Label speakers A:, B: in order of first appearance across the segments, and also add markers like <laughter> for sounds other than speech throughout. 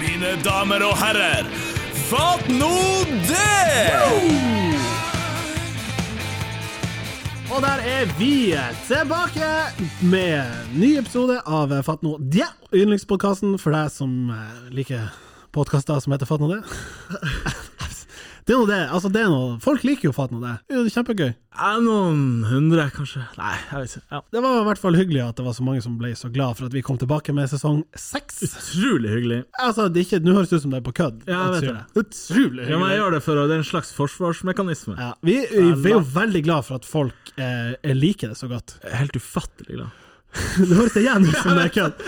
A: mine damer og herrer. Fatt nå det!
B: Og der er vi tilbake med ny episode av Fatno Dje, yndlingspodkasten for deg som eh, liker podkaster som heter Fatno det. <laughs> Det er noe det. Altså, det er noe. Folk liker jo Fatno det. Det er jo kjempegøy.
C: Er noen hundre, kanskje? Nei, jeg vet ikke. Ja.
B: Det var i hvert fall hyggelig at det var så mange som ble så glad for at vi kom tilbake med sesong seks.
C: Utrolig hyggelig.
B: Altså, det er ikke, nå høres det ut som det er på kødd.
C: Ja, jeg vet
B: sier jeg. Utrolig
C: Ja, men jeg
B: hyggelig.
C: gjør det for å, det er en slags forsvarsmekanisme.
B: Ja, vi, vi er jo veldig glad for at folk eh, liker det så godt.
C: Helt ufattelig glad.
B: <laughs> Det høres
C: <laughs>
B: igjen ut som det er kødd.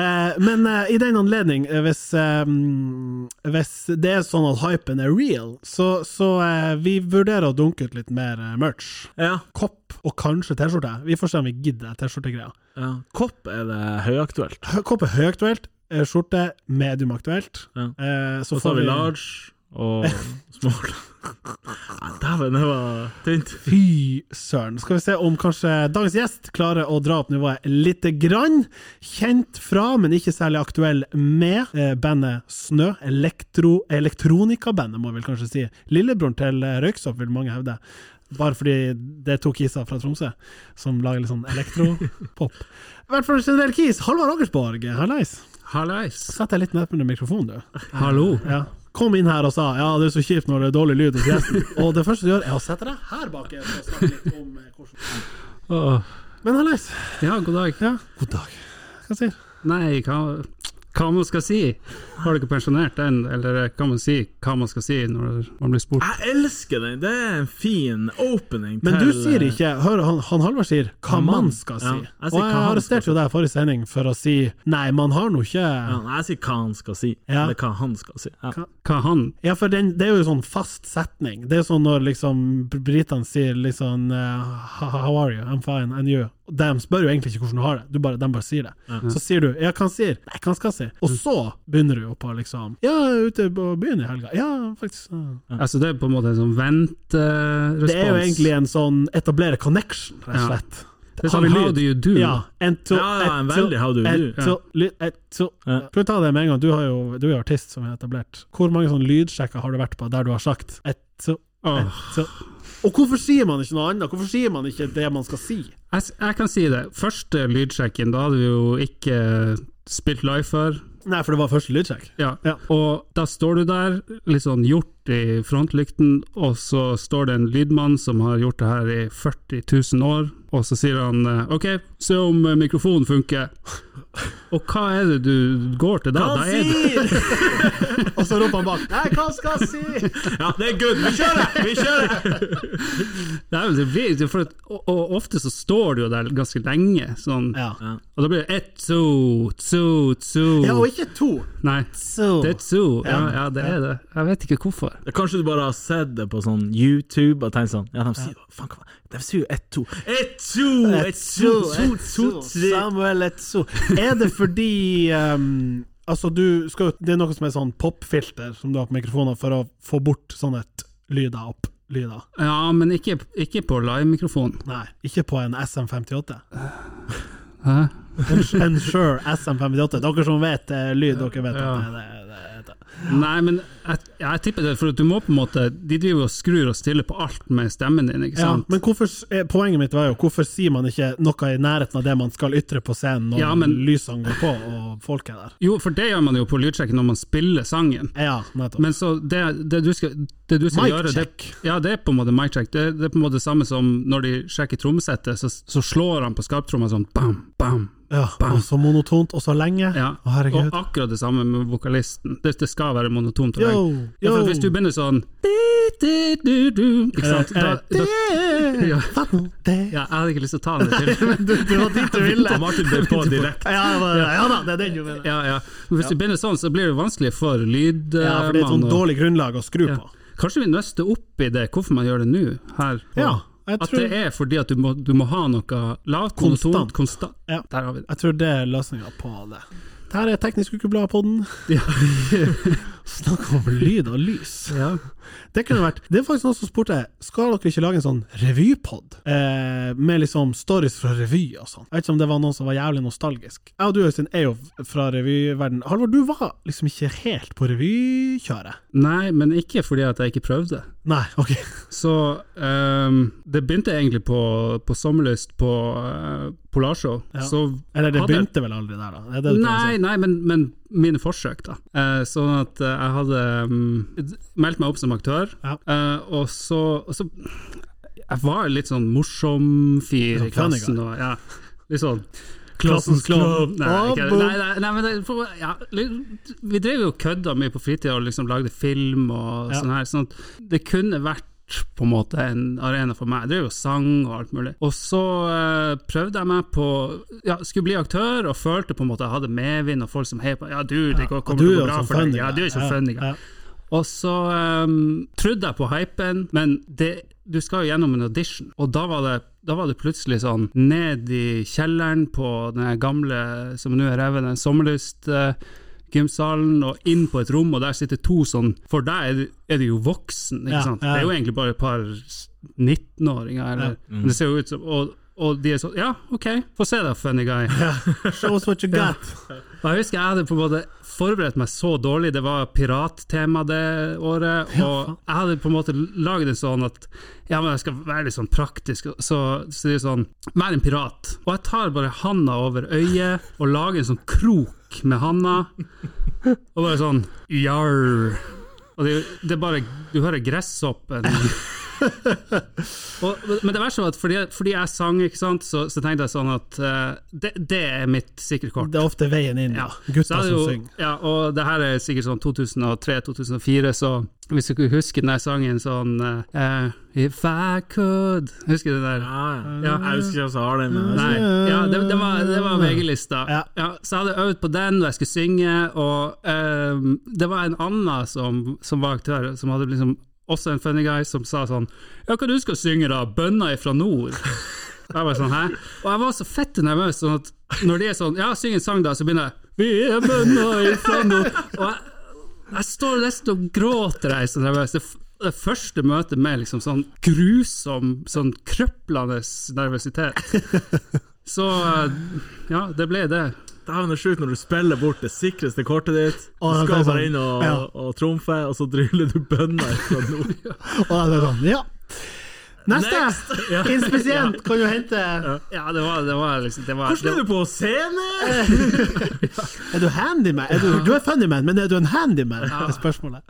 B: Eh, men eh, i den anledning, eh, hvis, eh, mm, hvis det er sånn at hypen er real, så, så eh, vi vurderer å dunke ut litt mer eh, merch.
C: Ja.
B: Kopp og kanskje T-skjorte. Vi får se om vi gidder T-skjortegreia.
C: ja. Kopp er det høyaktuelt.
B: Hø- Kopp er høyaktuelt, eh, skjorte medium aktuelt.
C: Ja.
B: Eh, så
C: Og så
B: får
C: har vi large og <laughs> small. Ja, Dæven, det var tynt.
B: Fy søren. Skal vi se om kanskje dagens gjest klarer å dra opp nivået lite grann. Kjent fra, men ikke særlig aktuell med, eh, bandet Snø. Elektro, elektronikabandet, må jeg vel kanskje si. Lillebroren til eh, Røyksopp, vil mange hevde. Bare fordi det er to kiser fra Tromsø som lager litt sånn elektropop. I hvert fall en generell kis. Halvard Agersborg, hallais.
C: Hallais.
B: Sett deg litt nærmere mikrofonen, du.
C: Hallo.
B: Ja. Kom inn her og sa ja, det er så kjipt når det er dårlig lyd hos gjesten.
C: <laughs>
B: Og det første du gjør, er å sette deg her bak og snakke litt om eh, hvordan Men hallais.
D: Ja, god dag.
B: Ja. God dag. Hva sier
D: Nei, hva, hva man skal si? Har dere pensjonert den, eller hva man si, hva man skal si når man blir spurt?
C: Jeg elsker den. Det er en fin opening
B: Men
C: til
B: du sier ikke Hør, han, han Halvard sier hva man skal si.
C: eh, Ja, jeg sier
B: og
C: hva
B: jeg
C: han
B: arresterte
C: skal
B: jo deg forrige sending for å si nei, man har nå ikke
C: eh, ja, nei, Jeg sier hva han skal si,
B: Ja.
C: eller hva han skal si. Ja.
D: Hva han?
B: Ja, for den, det er jo en sånn fast setning. Det er sånn når liksom br- britene sier liksom eh, How are you? I'm fine. And you? De spør jo egentlig ikke hvordan du har det, du bare, de bare sier det. Så sier du ja, hva han sier? Nei, hva han skal si? Og så begynner du jo på liksom Ja, jeg er ute på byen i helga. Ja, faktisk. ja.
D: Altså, det er på en måte en sånn vent-respons.
B: Det er jo egentlig en sånn etablere connection, rett og
D: Ja.
B: slett.
D: Det er sånn, how do you do?
B: Ja, en to,
C: Ja, ja, en veldig how do you do. Ja.
B: Prøv å ta det med en gang. Du, har jo, du er jo artist som er etablert. Hvor mange sånne lydsjekker har du vært på der du har sagt et to, et to? Og hvorfor sier man ikke noe annet? Hvorfor sier man ikke det man skal si?
D: Jeg, s- jeg kan si det. Første lydsjekken, da hadde vi jo ikke spilt live før.
B: Nei, for det var første lydsjekk.
D: Ja.
B: Ja.
D: Og da står du der, litt sånn gjort i frontlykten, og så står det en lydmann som har gjort det her i 40 000 år, og så sier han eh, OK, se om eh, mikrofonen funker. Og hva er det du går til da?
C: Hva
D: da
C: han
D: er det,
C: sier!
B: Og så roper han bak Nei, hva skal jeg si?
C: <laughs> Ja, det er good! Vi kjører! Vi kjører!
D: det er, jo- det blir, det er for at, og, og ofte så står du jo der ganske lenge, sånn,
B: Ja.
D: og da blir det ett, to, to, to
B: ja, og ikke to.
D: Nei,
B: Så.
D: det er to. Ja,
B: Ja.
D: ja, det er det. Jeg vet ikke hvorfor.
C: Kanskje du bare har sett det på sånn YouTube og tenkt sånn Ja, de sier Faen, hva De sier jo ett, to. Ett, to! Ett, to, to, to, tre
B: Samuel Etso. Er det fordi ehm, Altså, du skal jo Det er noe som er sånn popfilter som du har på mikrofoner for å få bort sånne et lyder opp. Lyder.
D: Ja, men ikke, ikke på live-mikrofonen.
B: Nei, ikke på en SM58.
D: Hæ?
B: En, en Shure SM58. Dere som vet eh, lyd, dere vet
D: Ja.
B: at det, det, det, det.
D: Nei, men jeg, jeg tipper det, for at du må på en måte De driver og skrur og stiller på alt med stemmen din, ikke
B: Ja,
D: sant?
B: men hvorfor, s- eh, poenget mitt var jo hvorfor sier man ikke noe i nærheten av det man skal ytre på scenen når
D: Ja, men-
B: lysene går på og folk er der?
D: Jo, for det gjør man jo på lydsjekken når man spiller sangen.
B: Ja, nettopp.
D: Men så det, det du skal, det du skal
B: Mic
D: gjøre det,
B: check.
D: Ja, det er på en måte mic check. Det, det er på en måte samme som når de sjekker trommesettet, så, så slår han på skarptromma sånn bam, bam.
B: Ja, og så monotont, og så lenge.
D: Ja.
B: Å, herregud.
D: og akkurat det samme med vokalisten. Det, det skal være monotont. og
B: Yo,
D: lenge. Ja,
B: yo.
D: for
B: Eh,
D: at hvis du begynner sånn du-du-du-du, Ikke sant? Da, da,
B: det, <laughs>
D: Ja.
B: det.
D: ja, jeg hadde ikke lyst til å ta den til. <laughs>
B: Det var dit du ville.
C: Og Martin ble på direkte.
B: Ja, det var- ja da, det er den du mener.
D: Ja, ja. Men hvis du begynner sånn, så blir det vanskelig for eh,
B: Ja, for det er et
D: lydmannen.
B: sånn dårlig grunnlag å skru på.
D: Kanskje vi nøster opp i det, hvorfor man gjør det nå, her. og-
B: Ja, jeg
D: At
B: tror-
D: det er fordi at du må, du må ha noe lavt,
B: Konstant.
D: monotont, konstant.
B: Ja.
D: Der har vi det.
B: <laughs> Jeg tror det er løsninga på det. Dette er Teknisk Ukeblad-podden.
D: Ja.
B: Snakk om lyd og lys. Det kunne vært Det er faktisk noen som spurte Skal dere ikke lage en sånn revypod eh, med liksom stories fra revy og sånn. Jeg vet ikke om det var noen som var jævlig nostalgisk. Jeg og du Øystein er jo fra revyverden. Halvor, du var liksom ikke helt på revykjøret?
D: Nei, men ikke fordi at jeg ikke prøvde.
B: Nei, ok.
D: Så ehm, det begynte egentlig på, på sommerlyst på eh, Polarshow.
B: Ja.
D: Så
B: Eller det
D: hadde-
B: begynte vel aldri der, da? Er det det du prøver å si?
D: Nei, nei men, men mine forsøk, da. Eh, sånn at eh, jeg hadde mm, meldt meg opp som aktør,
B: Ja.
D: eh, og, så, og så Jeg var litt sånn morsom fyr
B: Sånn
D: i klassen. Og, ja, litt sånn
B: Klassens klovn.
D: Nei, ikke,
B: Abo.
D: nei, nei, nei, men det, for, ja, litt- vi drev jo og kødda mye på fritida og liksom lagde film og
B: Ja.
D: sånn her. Sånn at det kunne vært på en måte en arena for meg. Jeg drev jo og sang og alt mulig. Og så eh, prøvde jeg meg på ja, Skulle bli aktør, og følte på en måte jeg hadde medvind og folk som heier på. Ja, du, det går,
B: Og
D: kommer til å
B: jo
D: gå bra
B: sånn
D: for deg.
B: funny
D: Ja,
B: guy.
D: du er ikke funny. guy.
B: Ja.
D: Og så ehm, trodde jeg på hypen, men det, du skal jo gjennom en audition, og da var det da var det plutselig sånn ned i kjelleren på den gamle, som nå er revet, den sommerlyst eh, gymsalen, og inn på et rom, og der sitter to sånn For deg er, du- er du jo voksen, ikke
B: Ja,
D: sant?
B: ja.
D: Det er jo egentlig bare et par 19-åringer, eller
C: Ja.
D: Det ser jo ut som og, og de er sånn Ja, OK, få se da, funny guy.
B: Show us what you got.
D: Og jeg husker jeg hadde på en måte forberedt meg så dårlig, det var pirattema det året, og jeg hadde på en måte laget det sånn at ja, men jeg skal være litt sånn praktisk, så, så det er sånn, vær en pirat. Og jeg tar bare handa over øyet, og lager en sånn krok med handa, og bare sånn, jarr. Og det, er jo- det er bare, du hører gresshoppen. Og, men det verste var at fordi, fordi jeg sang, ikke sant, så, så tenkte jeg sånn at eh, det, det er mitt sikre kort.
B: Det er ofte veien inn, ja.
D: Ja.
B: Gutta
D: Så er det
B: som
D: jo-
B: synger.
D: Ja, og det her er sikkert sånn 2003-2004, så hvis du kunne huske den der sangen sånn eh, If I could Husker du den der?
C: Ja, ja.
D: Ja.
C: Jeg husker ikke hva jeg har den, men
D: Nei, ja, det, det var, det var VG-lista.
B: Ja.
D: Ja. så jeg hadde øvd på den, og jeg skulle synge, og ehm, det var en annen som, som var aktør, som hadde liksom også en funny guy, som sa sånn Ja, hva du skal synge, da? 'Bønna ifra nord'? Og Jeg var sånn, hæ? Og jeg var så fett nervøs, sånn at når de er sånn Ja, syng en sang, da, så begynner jeg 'Vi er bønna ifra nord'. Og jeg, jeg står nesten og gråter, jeg er så nervøs. Det, f- det første møtet med liksom sånn grusom, sånn krøplende nervøsitet. Så eh, ja, det ble det.
C: Dæven, det er sjukt når du spiller bort det sikreste kortet ditt. Du
B: Å, det er
C: skal
B: sånn.
C: bare inn og,
B: Ja.
C: og trumfe, og så dryller du bønner fra <laughs> nord.
B: Og det er sånn, ja. Neste! <laughs> Inspisient kan jo hente
D: Ja, det var, det var liksom det var,
C: Hvordan er du på scenen?
B: Er du handyman? Er du, du er funnyman, men er du en handyman? Det er spørsmålet.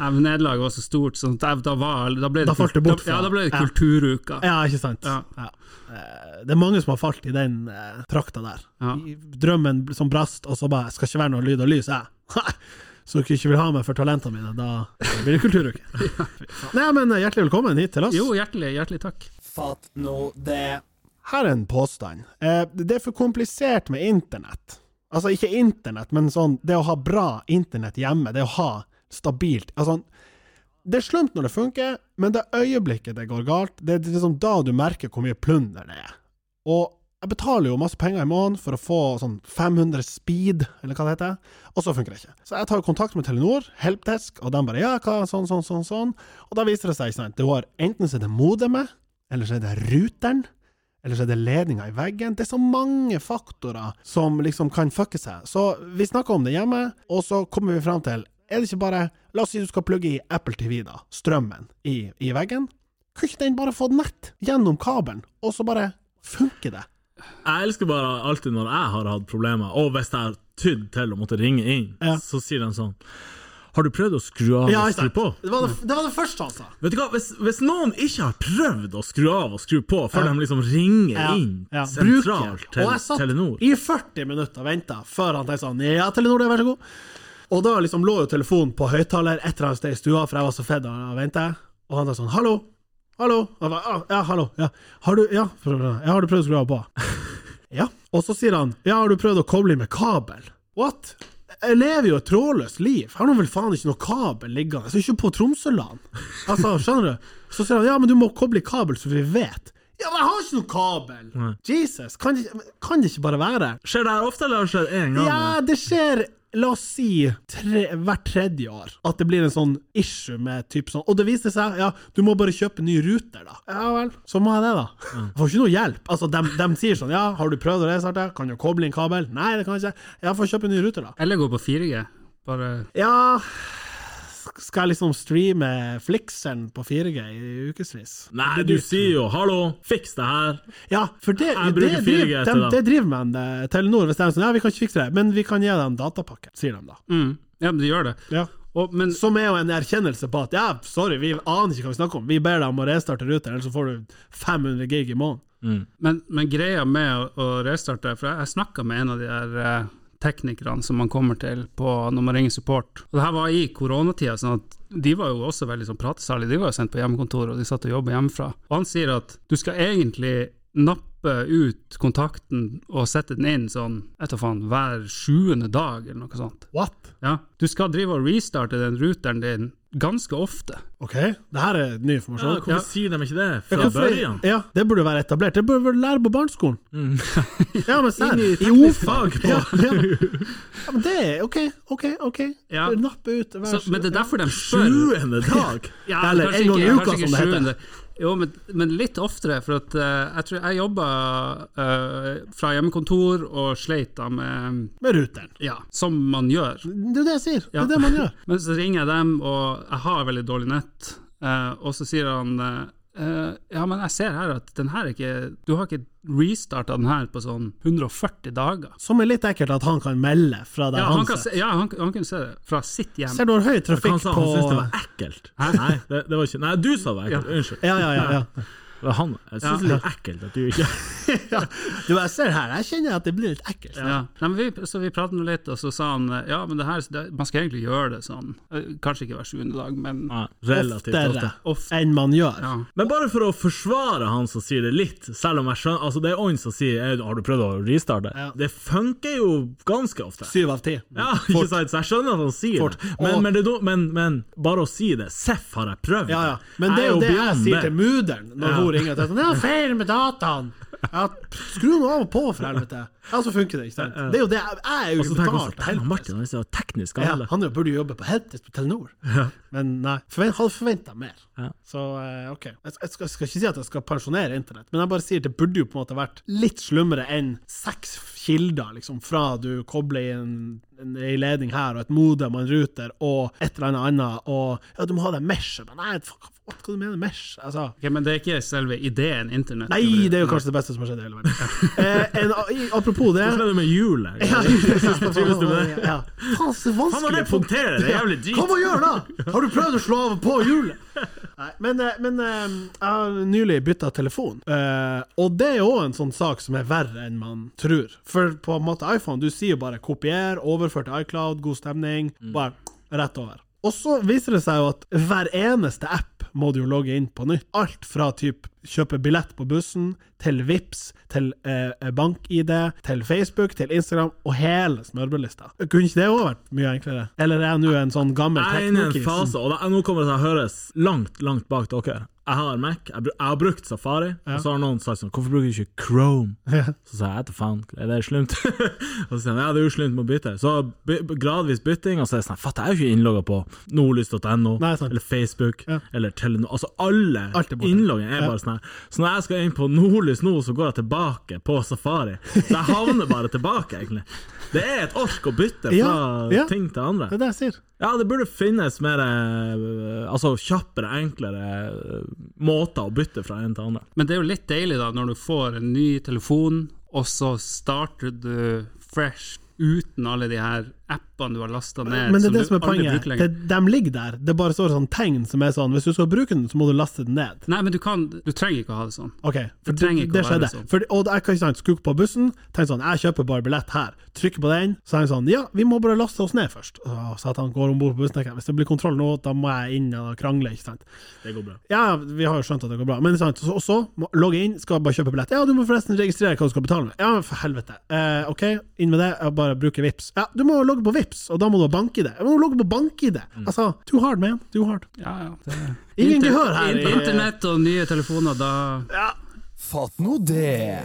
D: Nei, men Nederlaget var så stort, så da, da, var, da ble det
B: Da falt det bort
D: da, Ja,
B: fra.
D: da ble det
B: Ja.
D: kulturuka.
B: Ja, ikke sant?
D: Ja.
B: Ja. Eh, Det er mange som har falt i den eh, trakta der.
D: Ja.
B: I Drømmen som brast, og så bare Skal ikke være noe lyd og lys, jeg. <laughs> Ha! Så dere ikke vil ha meg for talentene mine, da blir det kulturuke.
D: <laughs>
B: Nei, men eh, hjertelig velkommen hit til oss.
D: Jo, hjertelig, hjertelig takk.
B: Fatt nå det. Her er en påstand. Eh, det er for komplisert med internett. Altså ikke internett, men sånn det å ha bra internett hjemme, det å ha stabilt Altså, det er slumt når det funker, men det øyeblikket det går galt, det er liksom da du merker hvor mye plunder det er. Og jeg betaler jo masse penger i måneden for å få sånn 500 speed, eller hva det heter, og så funker det ikke. Så jeg tar jo kontakt med Telenor, helpdesk, og de bare ja, hva, sånn, sånn, sånn, sånn. Og da viser det seg, ikke sant, det var enten så er det modemet, eller så er det ruteren, eller så er det ledninga i veggen. Det er så mange faktorer som liksom kan fucke seg. Så vi snakker om det hjemme, og så kommer vi fram til Er det ikke bare La oss si du skal plugge i Apple TV, da. Strømmen i, i veggen. Kunne ikke den bare fått nett gjennom kabelen, og så bare funker det?
C: Jeg elsker bare alltid når jeg har hatt problemer, og hvis jeg har tydd til å måtte ringe inn,
B: Ja.
C: så sier de sånn Har du prøvd å skru av og skru på? Mm.
B: Det var det, det var det første han sa.
C: Vet du hva, hvis, hvis noen ikke har prøvd å skru av og skru på før de liksom ringer inn sentralt
B: Bruker.
C: til
B: Og jeg satt
C: Telenor
B: i 40 minutter og venta før han tenkte sånn Ja, Telenor, det er vær så god. Og da liksom lå jo telefonen på høyttaler et eller annet sted i stua, for jeg var så fedd av å vente. Og han sa sånn Hallo! Hallo! Og jeg bare, «Ah, ja, hallo. Ja. Har du Ja, for- ja, har du prøvd å skru av på? Ja. Og så sier han Ja, har du prøvd å koble inn med kabel? What? Jeg lever jo et trådløst liv. Jeg har nå vel faen ikke noe kabel liggende. Jeg er ikke på Tromsøland. Altså, skjønner du? Så sier han ja, men du må koble i kabel, så vi vet. Ja, men jeg har ikke noe kabel! Jesus, kan det, kan det ikke bare være
C: Skjer det her ofte, eller skjer det én gang?
B: ja, det skjer la oss si tre, hvert tredje år, at det blir en sånn issue med typ sånn Og det viser seg, ja, du må bare kjøpe ny ruter, da. Ja vel, så må jeg det, da. Jeg får ikke noe hjelp. Altså, de, sier sånn, ja, har du prøvd å restarte? Kan du koble inn kabel? Nei, det kan jeg ikke. Ja, får kjøpe ny ruter, da.
D: Eller gå på 4G. Bare
B: Ja sk- Skal jeg liksom streame Flixeren på 4G i ukevis?
C: Nei, du sier jo 'hallo, fiks det her'.
B: Ja, for det,
C: Jeg
B: det,
C: bruker 4G
B: driver,
C: til
B: dem-
C: dem.
B: det driver med en, eh, Telenor hvis de er sånn Ja, vi kan ikke fikse det, men vi kan gi dem datapakke, sier de da.
D: mm. Ja, men de gjør det.
B: Ja.
D: Og, men
B: Som er jo en erkjennelse på at ja, sorry, vi aner ikke hva vi snakker om. Vi ber deg om å restarte ruter, ellers så får du 500 gig i måneden.
D: Men, men greia med å, å restarte For jeg, jeg snakka med en av de der eh, teknikerne som man kommer til på når man ringer support. Og det her var i koronatida, sånn at de var jo også veldig sånn pratesalige. De var jo sendt på hjemmekontor, og de satt og jobba hjemmefra. Og han sier at du skal egentlig nappe ut kontakten og sette den inn sånn, jeg tar faen, hver sjuende dag, eller noe sånt.
B: What?
D: Ja, Du skal drive og restarte den routeren din ganske ofte.
B: OK, det her er ny informasjon.
C: Ja, hvorfor sier de ikke det fra
B: Hvorfor-
C: børjen?
B: ja, det burde være etablert. Det burde være lære på barneskolen. <laughs> ja, men serr.
C: Inn i
B: I
C: teknisk
B: ordfag.
C: fag på-
B: Ja, ja. ja, men det er OK, OK, OK.
D: Ja.
B: Nappe ut hver
D: Så, men det er derfor de spør.
C: Sjuende
B: <laughs>
C: dag!
D: Ja,
B: Eller
D: kanskje
B: en gang i
D: ikke-
B: uka,
D: kanskje ikke
B: som det heter.
D: sjuende. Jo, men, men litt oftere, for at eh, jeg tror jeg jobba eh, fra hjemmekontor og sleit da med
B: med ruteren.
D: Ja, som man gjør.
B: Det er det jeg sier. Det
D: Ja.
B: er det man gjør.
D: Men så ringer jeg dem, og jeg har veldig dårlig nett, eh, og så sier han eh, eh, ja, men jeg ser her at den her er ikke Du har ikke restarta den her på sånn 140 dager.
B: Som er litt ekkelt at han kan melde fra der
D: Ja,
B: han,
D: han, kan
B: sitter.
D: se, ja, han, han kunne se det fra sitt hjem.
B: Ser du har høy
C: Han
B: trafikk
C: sa
B: på
C: han syntes det var ekkelt. Nei, det, det var ikke Nei, du sa det var ekkelt. Unnskyld.
B: ja, ja, ja, ja.
C: Det var han. Jeg syns det er litt ekkelt at du ikke
B: <laughs> Du, jeg ser her, jeg kjenner at det blir litt ekkelt.
D: Ja. Nei, men vi, så vi pratet nå litt, og så sa han ja, men det her, det, man skal egentlig gjøre det sånn. Eh, Kanskje ikke hver sjuende dag, men
C: Nei, Relativt ofte.
B: Oftere enn man gjør.
D: ja.
C: Men bare for å forsvare han som sier det litt, selv om jeg skjønner Altså, det er ånd som sier «Eh, 'har du prøvd å restarte'?
B: Ja.
C: Det funker jo ganske ofte.
B: Syv av ti.
C: Ja, ikke sant? Så jeg skjønner at han sier
B: Fort.
C: det.
B: Og-
C: Men, men, det er no- men, men bare å si det. Seff har jeg prøvd.
B: Ja, ja. Men det er
C: Jeg
B: jo det jeg
C: beyond
B: sier til muderen når hun ringer. Det er sånn, 'Det er feil med dataen!' Ja, skru nå av og på, for helvete! Ja, så funker det, ikke sant? Det er jo det jeg, jeg er jo
C: Og så
B: ikke
C: tenker man sånn
B: betalt.
C: «Dæven, Martin han er så teknisk
B: Ja,
C: anlegg.
B: han jo burde jo jobbe på Heltis på Telenor, men nei. Forvent, han forventa mer.
C: Ja.
B: Så eh, OK. Jeg, skal- jeg, skal, jeg skal ikke si at jeg skal pensjonere internett, men jeg bare sier det burde jo på en måte vært litt slummere enn seks kilder, liksom, fra du kobler inn en, ei ledning her, og et modem og en ruter, og et eller annet annet, og ja, du må ha det meshet, men nei, fuck, hva hva du mener mesh? Altså,
D: Ok, men det er ikke selve ideen internett?
B: Nei, det er jo kanskje det beste som har skjedd i hele verden. <laughs> Eh, en, i- apropos det
C: Hvordan er det med hjulet?
B: Ja.
C: trives du med det?
B: Ja. Faen, så vanskelig.
C: Han må det punktere, det er jævlig dyrt.
B: Kom og gjør det! Har du prøvd å slå av og på hjulet? Nei, men, eh, men eh, jeg har nylig bytta telefon, Eh, og det er òg en sånn sak som er verre enn man tror. For på en måte iPhone, du sier jo bare 'kopier', 'overfør til iCloud', 'god stemning',
C: Mm.
B: bare rett over. Og så viser det seg jo at hver eneste app må du jo logge inn på nytt. Alt fra typ kjøpe billett på bussen, til VIPS, til eh, bank-ID, til Facebook, til Instagram, og hele smørbrødlista. Kunne ikke det òg vært mye enklere? Eller er jeg nå en sånn gammel
C: Jeg er inne i en
B: teknokis?
C: fase, og det, nå kommer det til å høres langt, langt bak dere. Jeg har Mac, jeg, bru- jeg har brukt Safari, og så har noen sagt sånn 'Hvorfor bruker du ikke
B: <laughs>
C: Chrome?' Så sa jeg 'Etter faen, er det slumt?' <laughs> og så sier han 'Ja, det er jo slumt med å bytte'. Så by, gradvis bytting, og så er det sånn 'Fatt, jeg er jo ikke innlogga på nordlys.no,
B: Nei, sant.
C: eller Facebook,
B: Ja.
C: eller Telenor Altså alle
B: Alt er borte.
C: innloggene er
B: Ja.
C: bare sånn her. Så når jeg skal inn på Nordlys nå, så går jeg tilbake på Safari. Så jeg havner bare tilbake, egentlig. Det er et ork å bytte fra
B: Ja, ja.
C: ting til andre.
B: Det er det jeg sier.
C: Ja, det burde finnes mer eh, Altså kjappere, enklere eh, måter å bytte fra en til andre.
D: Men det er jo litt deilig da, når du får en ny telefon, og så starter du fresh uten alle de her appene du har lasta ned.
B: Men det er det
D: du
B: som er
D: aldri
B: poenget.
D: bruker lenger.
B: Det, de ligger der. Det bare står sånn tegn som er sånn Hvis du skal bruke den, så må du laste den ned.
D: Nei, men du, kan, du trenger ikke å ha det sånn.
B: Ok, for
D: Det
B: det,
D: trenger
B: det,
D: ikke å være
B: skjedde.
D: sånn.
B: For, og jeg kan ikke sant, skukke på bussen, tenk sånn, jeg kjøper bare billett her, trykker på den, så er han sånn, ja, vi må bare laste oss ned først. Åh, Så at han går ombord på bussen, tenker jeg, hvis det blir kontroll nå, da må jeg inn og krangle, ikke sant.
C: Det går bra.
B: Ja, vi har jo skjønt at det går bra, men sant, så, og så må, logge inn, skal bare kjøpe billett. Ja, du må forresten registrere hva du skal betale med. Ja, men for helvete. Eh, ok, inn med det, jeg bare bruker Vips. Ja, du må logge på Vips, og da må du ha bank-ID. Jeg må logge på bank-ID.
C: Mm.
B: Altså, too hard, man, too hard.
D: Ja, ja. Det...
B: <laughs> Ingen
D: Inter-
B: gehør her i-
D: Internett og nye telefoner, da
A: Fatt nå det.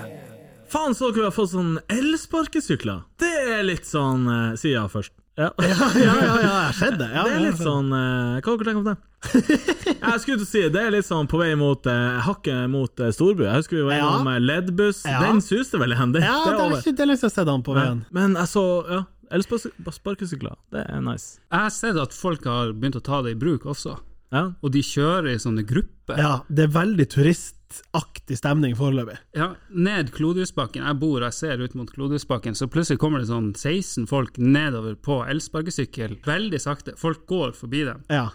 C: Faen, så dere har fått sånn elsparkesykler! Det er litt sånn eh, Sier jeg først. Ja.
B: <laughs> Ja, ja, ja, jeg har sett det. Ja,
C: Det er
B: ja,
C: litt sånn eh, Hva dere
B: <laughs>
C: tenker om det? Jeg skulle til å si det er litt sånn på vei mot eh, hakket mot eh, storby. Jeg husker vi var
B: Ja.
C: innom eh, leddbuss.
B: Ja.
C: Den suste vel igjen, det,
B: Ja,
C: det
B: det
C: er
B: er
C: over.
B: ikke det er lenge siden jeg har sett han på veien.
C: Men jeg så ja, elsparkesykler. Sparkesykler, det er nice.
D: Jeg har sett at folk har begynt å ta det i bruk også,
C: Ja.
D: og de kjører i sånne grupper.
B: Ja, det er veldig turistaktig stemning foreløpig.
D: Ja, ned Klodhusbakken. Jeg bor og jeg ser ut mot Klodhusbakken, så plutselig kommer det sånn 16 folk nedover på elsparkesykkel, veldig sakte. Folk går forbi dem.
B: Ja.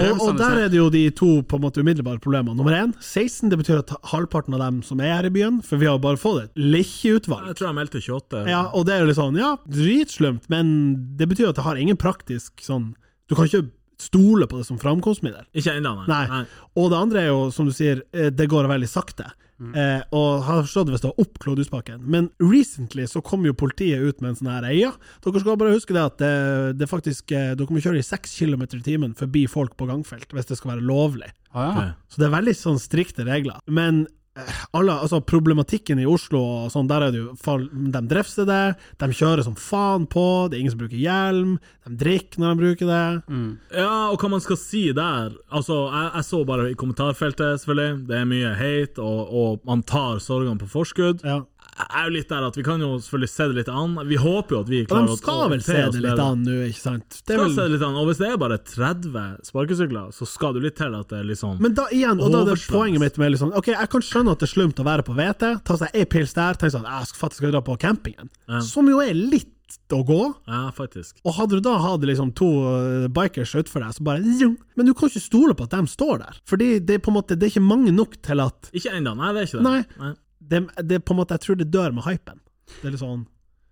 B: Og, og der er det jo de to på en måte umiddelbare problemene. Nummer én, 16 det betyr at halvparten av dem som er her i byen, for vi har bare fått et
C: Jeg
B: lekkutvalg.
C: tror jeg meldte 28.
B: Ja, og det er jo litt sånn, ja, dritslumt, men det betyr at det har ingen praktisk sånn Du kan ikke stole på det som framkomstmiddel.
C: Ikke ennå, nei.
B: Nei. Og det andre er jo, som du sier, eh, det går veldig sakte. Eh, og har forstått hvis det var opp Klodhusbakken. Men recently så kom jo politiet ut med en sånn her Ja, dere skal bare huske det at det, det faktisk eh, Dere må kjøre i 6 km i timen forbi folk på gangfelt hvis det skal være lovlig.
D: Ah,
B: Så det er veldig sånn strikte regler. Men eh, alle, altså problematikken i Oslo og sånn, der er det jo fall- De drefser det, de kjører som faen på, det er ingen som bruker hjelm, de drikker når de bruker det.
C: Ja, og hva man skal si der Altså, jeg, jeg så bare i kommentarfeltet, selvfølgelig. Det er mye hate, og, og man tar sorgene på forskudd.
B: Ja.
C: Jeg er jo litt der at vi kan jo selvfølgelig se det litt an. Vi håper jo at vi
B: Og
C: klarer
B: de
C: å
B: skal vel se
C: orientere oss
B: det litt
C: bedre.
B: an nå, ikke sant? Det er
C: Skal
B: vel-
C: se det litt an. Og hvis det er bare 30 sparkesykler, så skal du litt til at det er litt sånn
B: Men da igjen, og da er det
C: Overslag.
B: poenget mitt med liksom, Ok, jeg kan skjønne at det er slumt å være på VT, ta seg ei pils der, tenke sånn Jeg skal faktisk dra på campingen. Som jo er litt å gå.
C: Ja, faktisk.
B: Og hadde du da hatt liksom to eh, bikers utfor deg, så bare zjung. Men du kan ikke stole på at de står der. Fordi det er på en måte Det er ikke mange nok til at
C: Ikke ennå, nei, det er ikke det.
B: Nei. det, det er på en måte, Jeg tror det dør med hypen. Det er litt sånn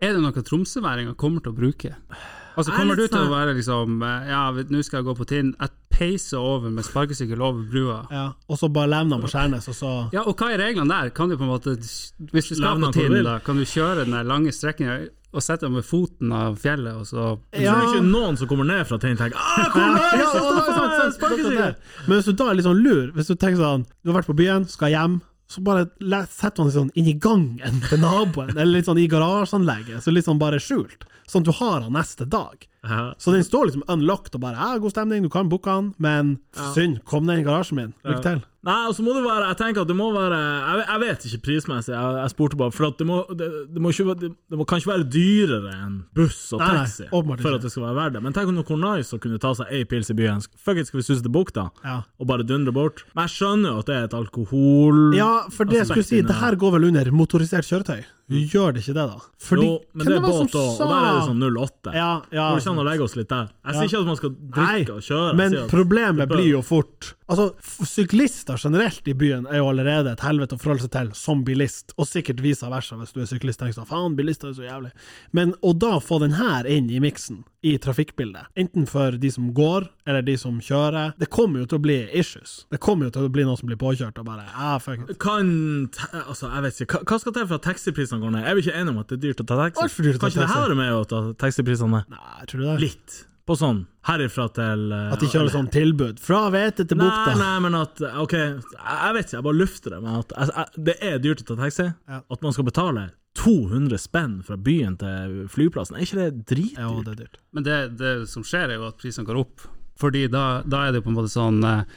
D: Er det noe tromsøværinger kommer til å bruke? Altså
C: Jeg er
D: Kommer du
C: litt
D: til å
C: sånn-
D: være liksom eh, Ja, vet- nå skal jeg gå på Tinn. Jeg peiser over med sparkesykkel over brua.
B: ja. Og så bare levner på Skjærnes, og så
D: Ja, og hva er reglene der? Kan du på en måte Hvis du skal
C: Levne hvor du
D: på Tinn,
C: vil.
D: da, kan du kjøre den der lange strekninga og sette deg med foten av fjellet, og så
C: Jeg tror ikke noen som kommer ned fra Tein tenker ah, kom her,
B: Ja,
C: så
B: og det er sånn- sant,
C: <laughs>
B: sant, sant, sant,
C: sparkesykler!
B: sant. Men hvis du da er litt sånn lur, hvis du tenker sånn Du har vært på byen, skal hjem, så bare le- setter man seg sånn inn i gangen til naboen, eller litt sånn i garasjeanlegget, så litt sånn bare skjult, sånn at du har han neste dag.
C: Ja.
B: Så den står liksom unlocked og bare ja, 'god stemning, du kan booke han', men synd, kom ned i garasjen min. Lykke til.
C: Nei, og så må det være Jeg tenker at det må være Jeg, jeg vet ikke prismessig, jeg, jeg spurte bare. For at det, må, det, det, må ikke, være- det, det må, kan ikke være dyrere enn buss og
B: Nei, nei,
C: taxi
B: åpenbart ikke.
C: for at det skal være verdt det. Men tenk om hvor nice å kunne ta seg ei pils i byen. Fuck it, skal vi suse til bukta?
B: Ja.
C: Og bare dundre bort? Men jeg skjønner jo at det er et alkohol...
B: Ja, for
C: Altså,
B: det jeg skulle si, det her går vel under motorisert kjøretøy. Gjør det ikke det, da? Fordi,
C: Mm. jo,
B: hvem
C: men det er
B: var som
C: båt òg, og
B: sa-
C: der er det sånn 08.
B: Ja, ja.
C: Går det sånn ikke an å legge oss litt der? Jeg sier ikke at man skal drikke og kjøre. jeg
B: men
C: sier at-
B: problemet
C: bør-
B: blir jo fort Altså, f- Syklister generelt i byen er jo allerede et helvete å forholde seg til som bilist, og sikkert vice versa hvis du er syklist. Tenker sånn, faen, bilister er så jævlig. Men å da få den her inn i miksen, i trafikkbildet, enten for de som går, eller de som kjører, det kommer jo til å bli issues. Det kommer jo til å bli noen som blir påkjørt og bare ah, fuck it.
C: Kan te- Altså, jeg vet ikke. Hva, hva skal til for at taxiprisene går ned? Jeg er vi ikke enig om at det er dyrt å ta taxi?
B: Alt for dyrt å ta
C: kan ikke det
B: taxi.
C: her være med å ta taxiprisene ned?
B: Nei, tror du det?
C: Litt. På sånn herifra til eh,
B: At de kjører sånn tilbud. Fra hvete til
C: Nei,
B: bukta.
C: nei, men at OK, jeg jeg vet ikke, jeg bare lufter det. Men at jeg, jeg, det er dyrt å ta taxi.
B: Ja.
C: At man skal betale 200 spenn fra byen til flyplassen, er ikke det dritdyrt?
B: Jo, det er dyrt.
D: Men det, det som skjer, er jo at prisene går opp. Fordi da, da er det på en måte sånn eh,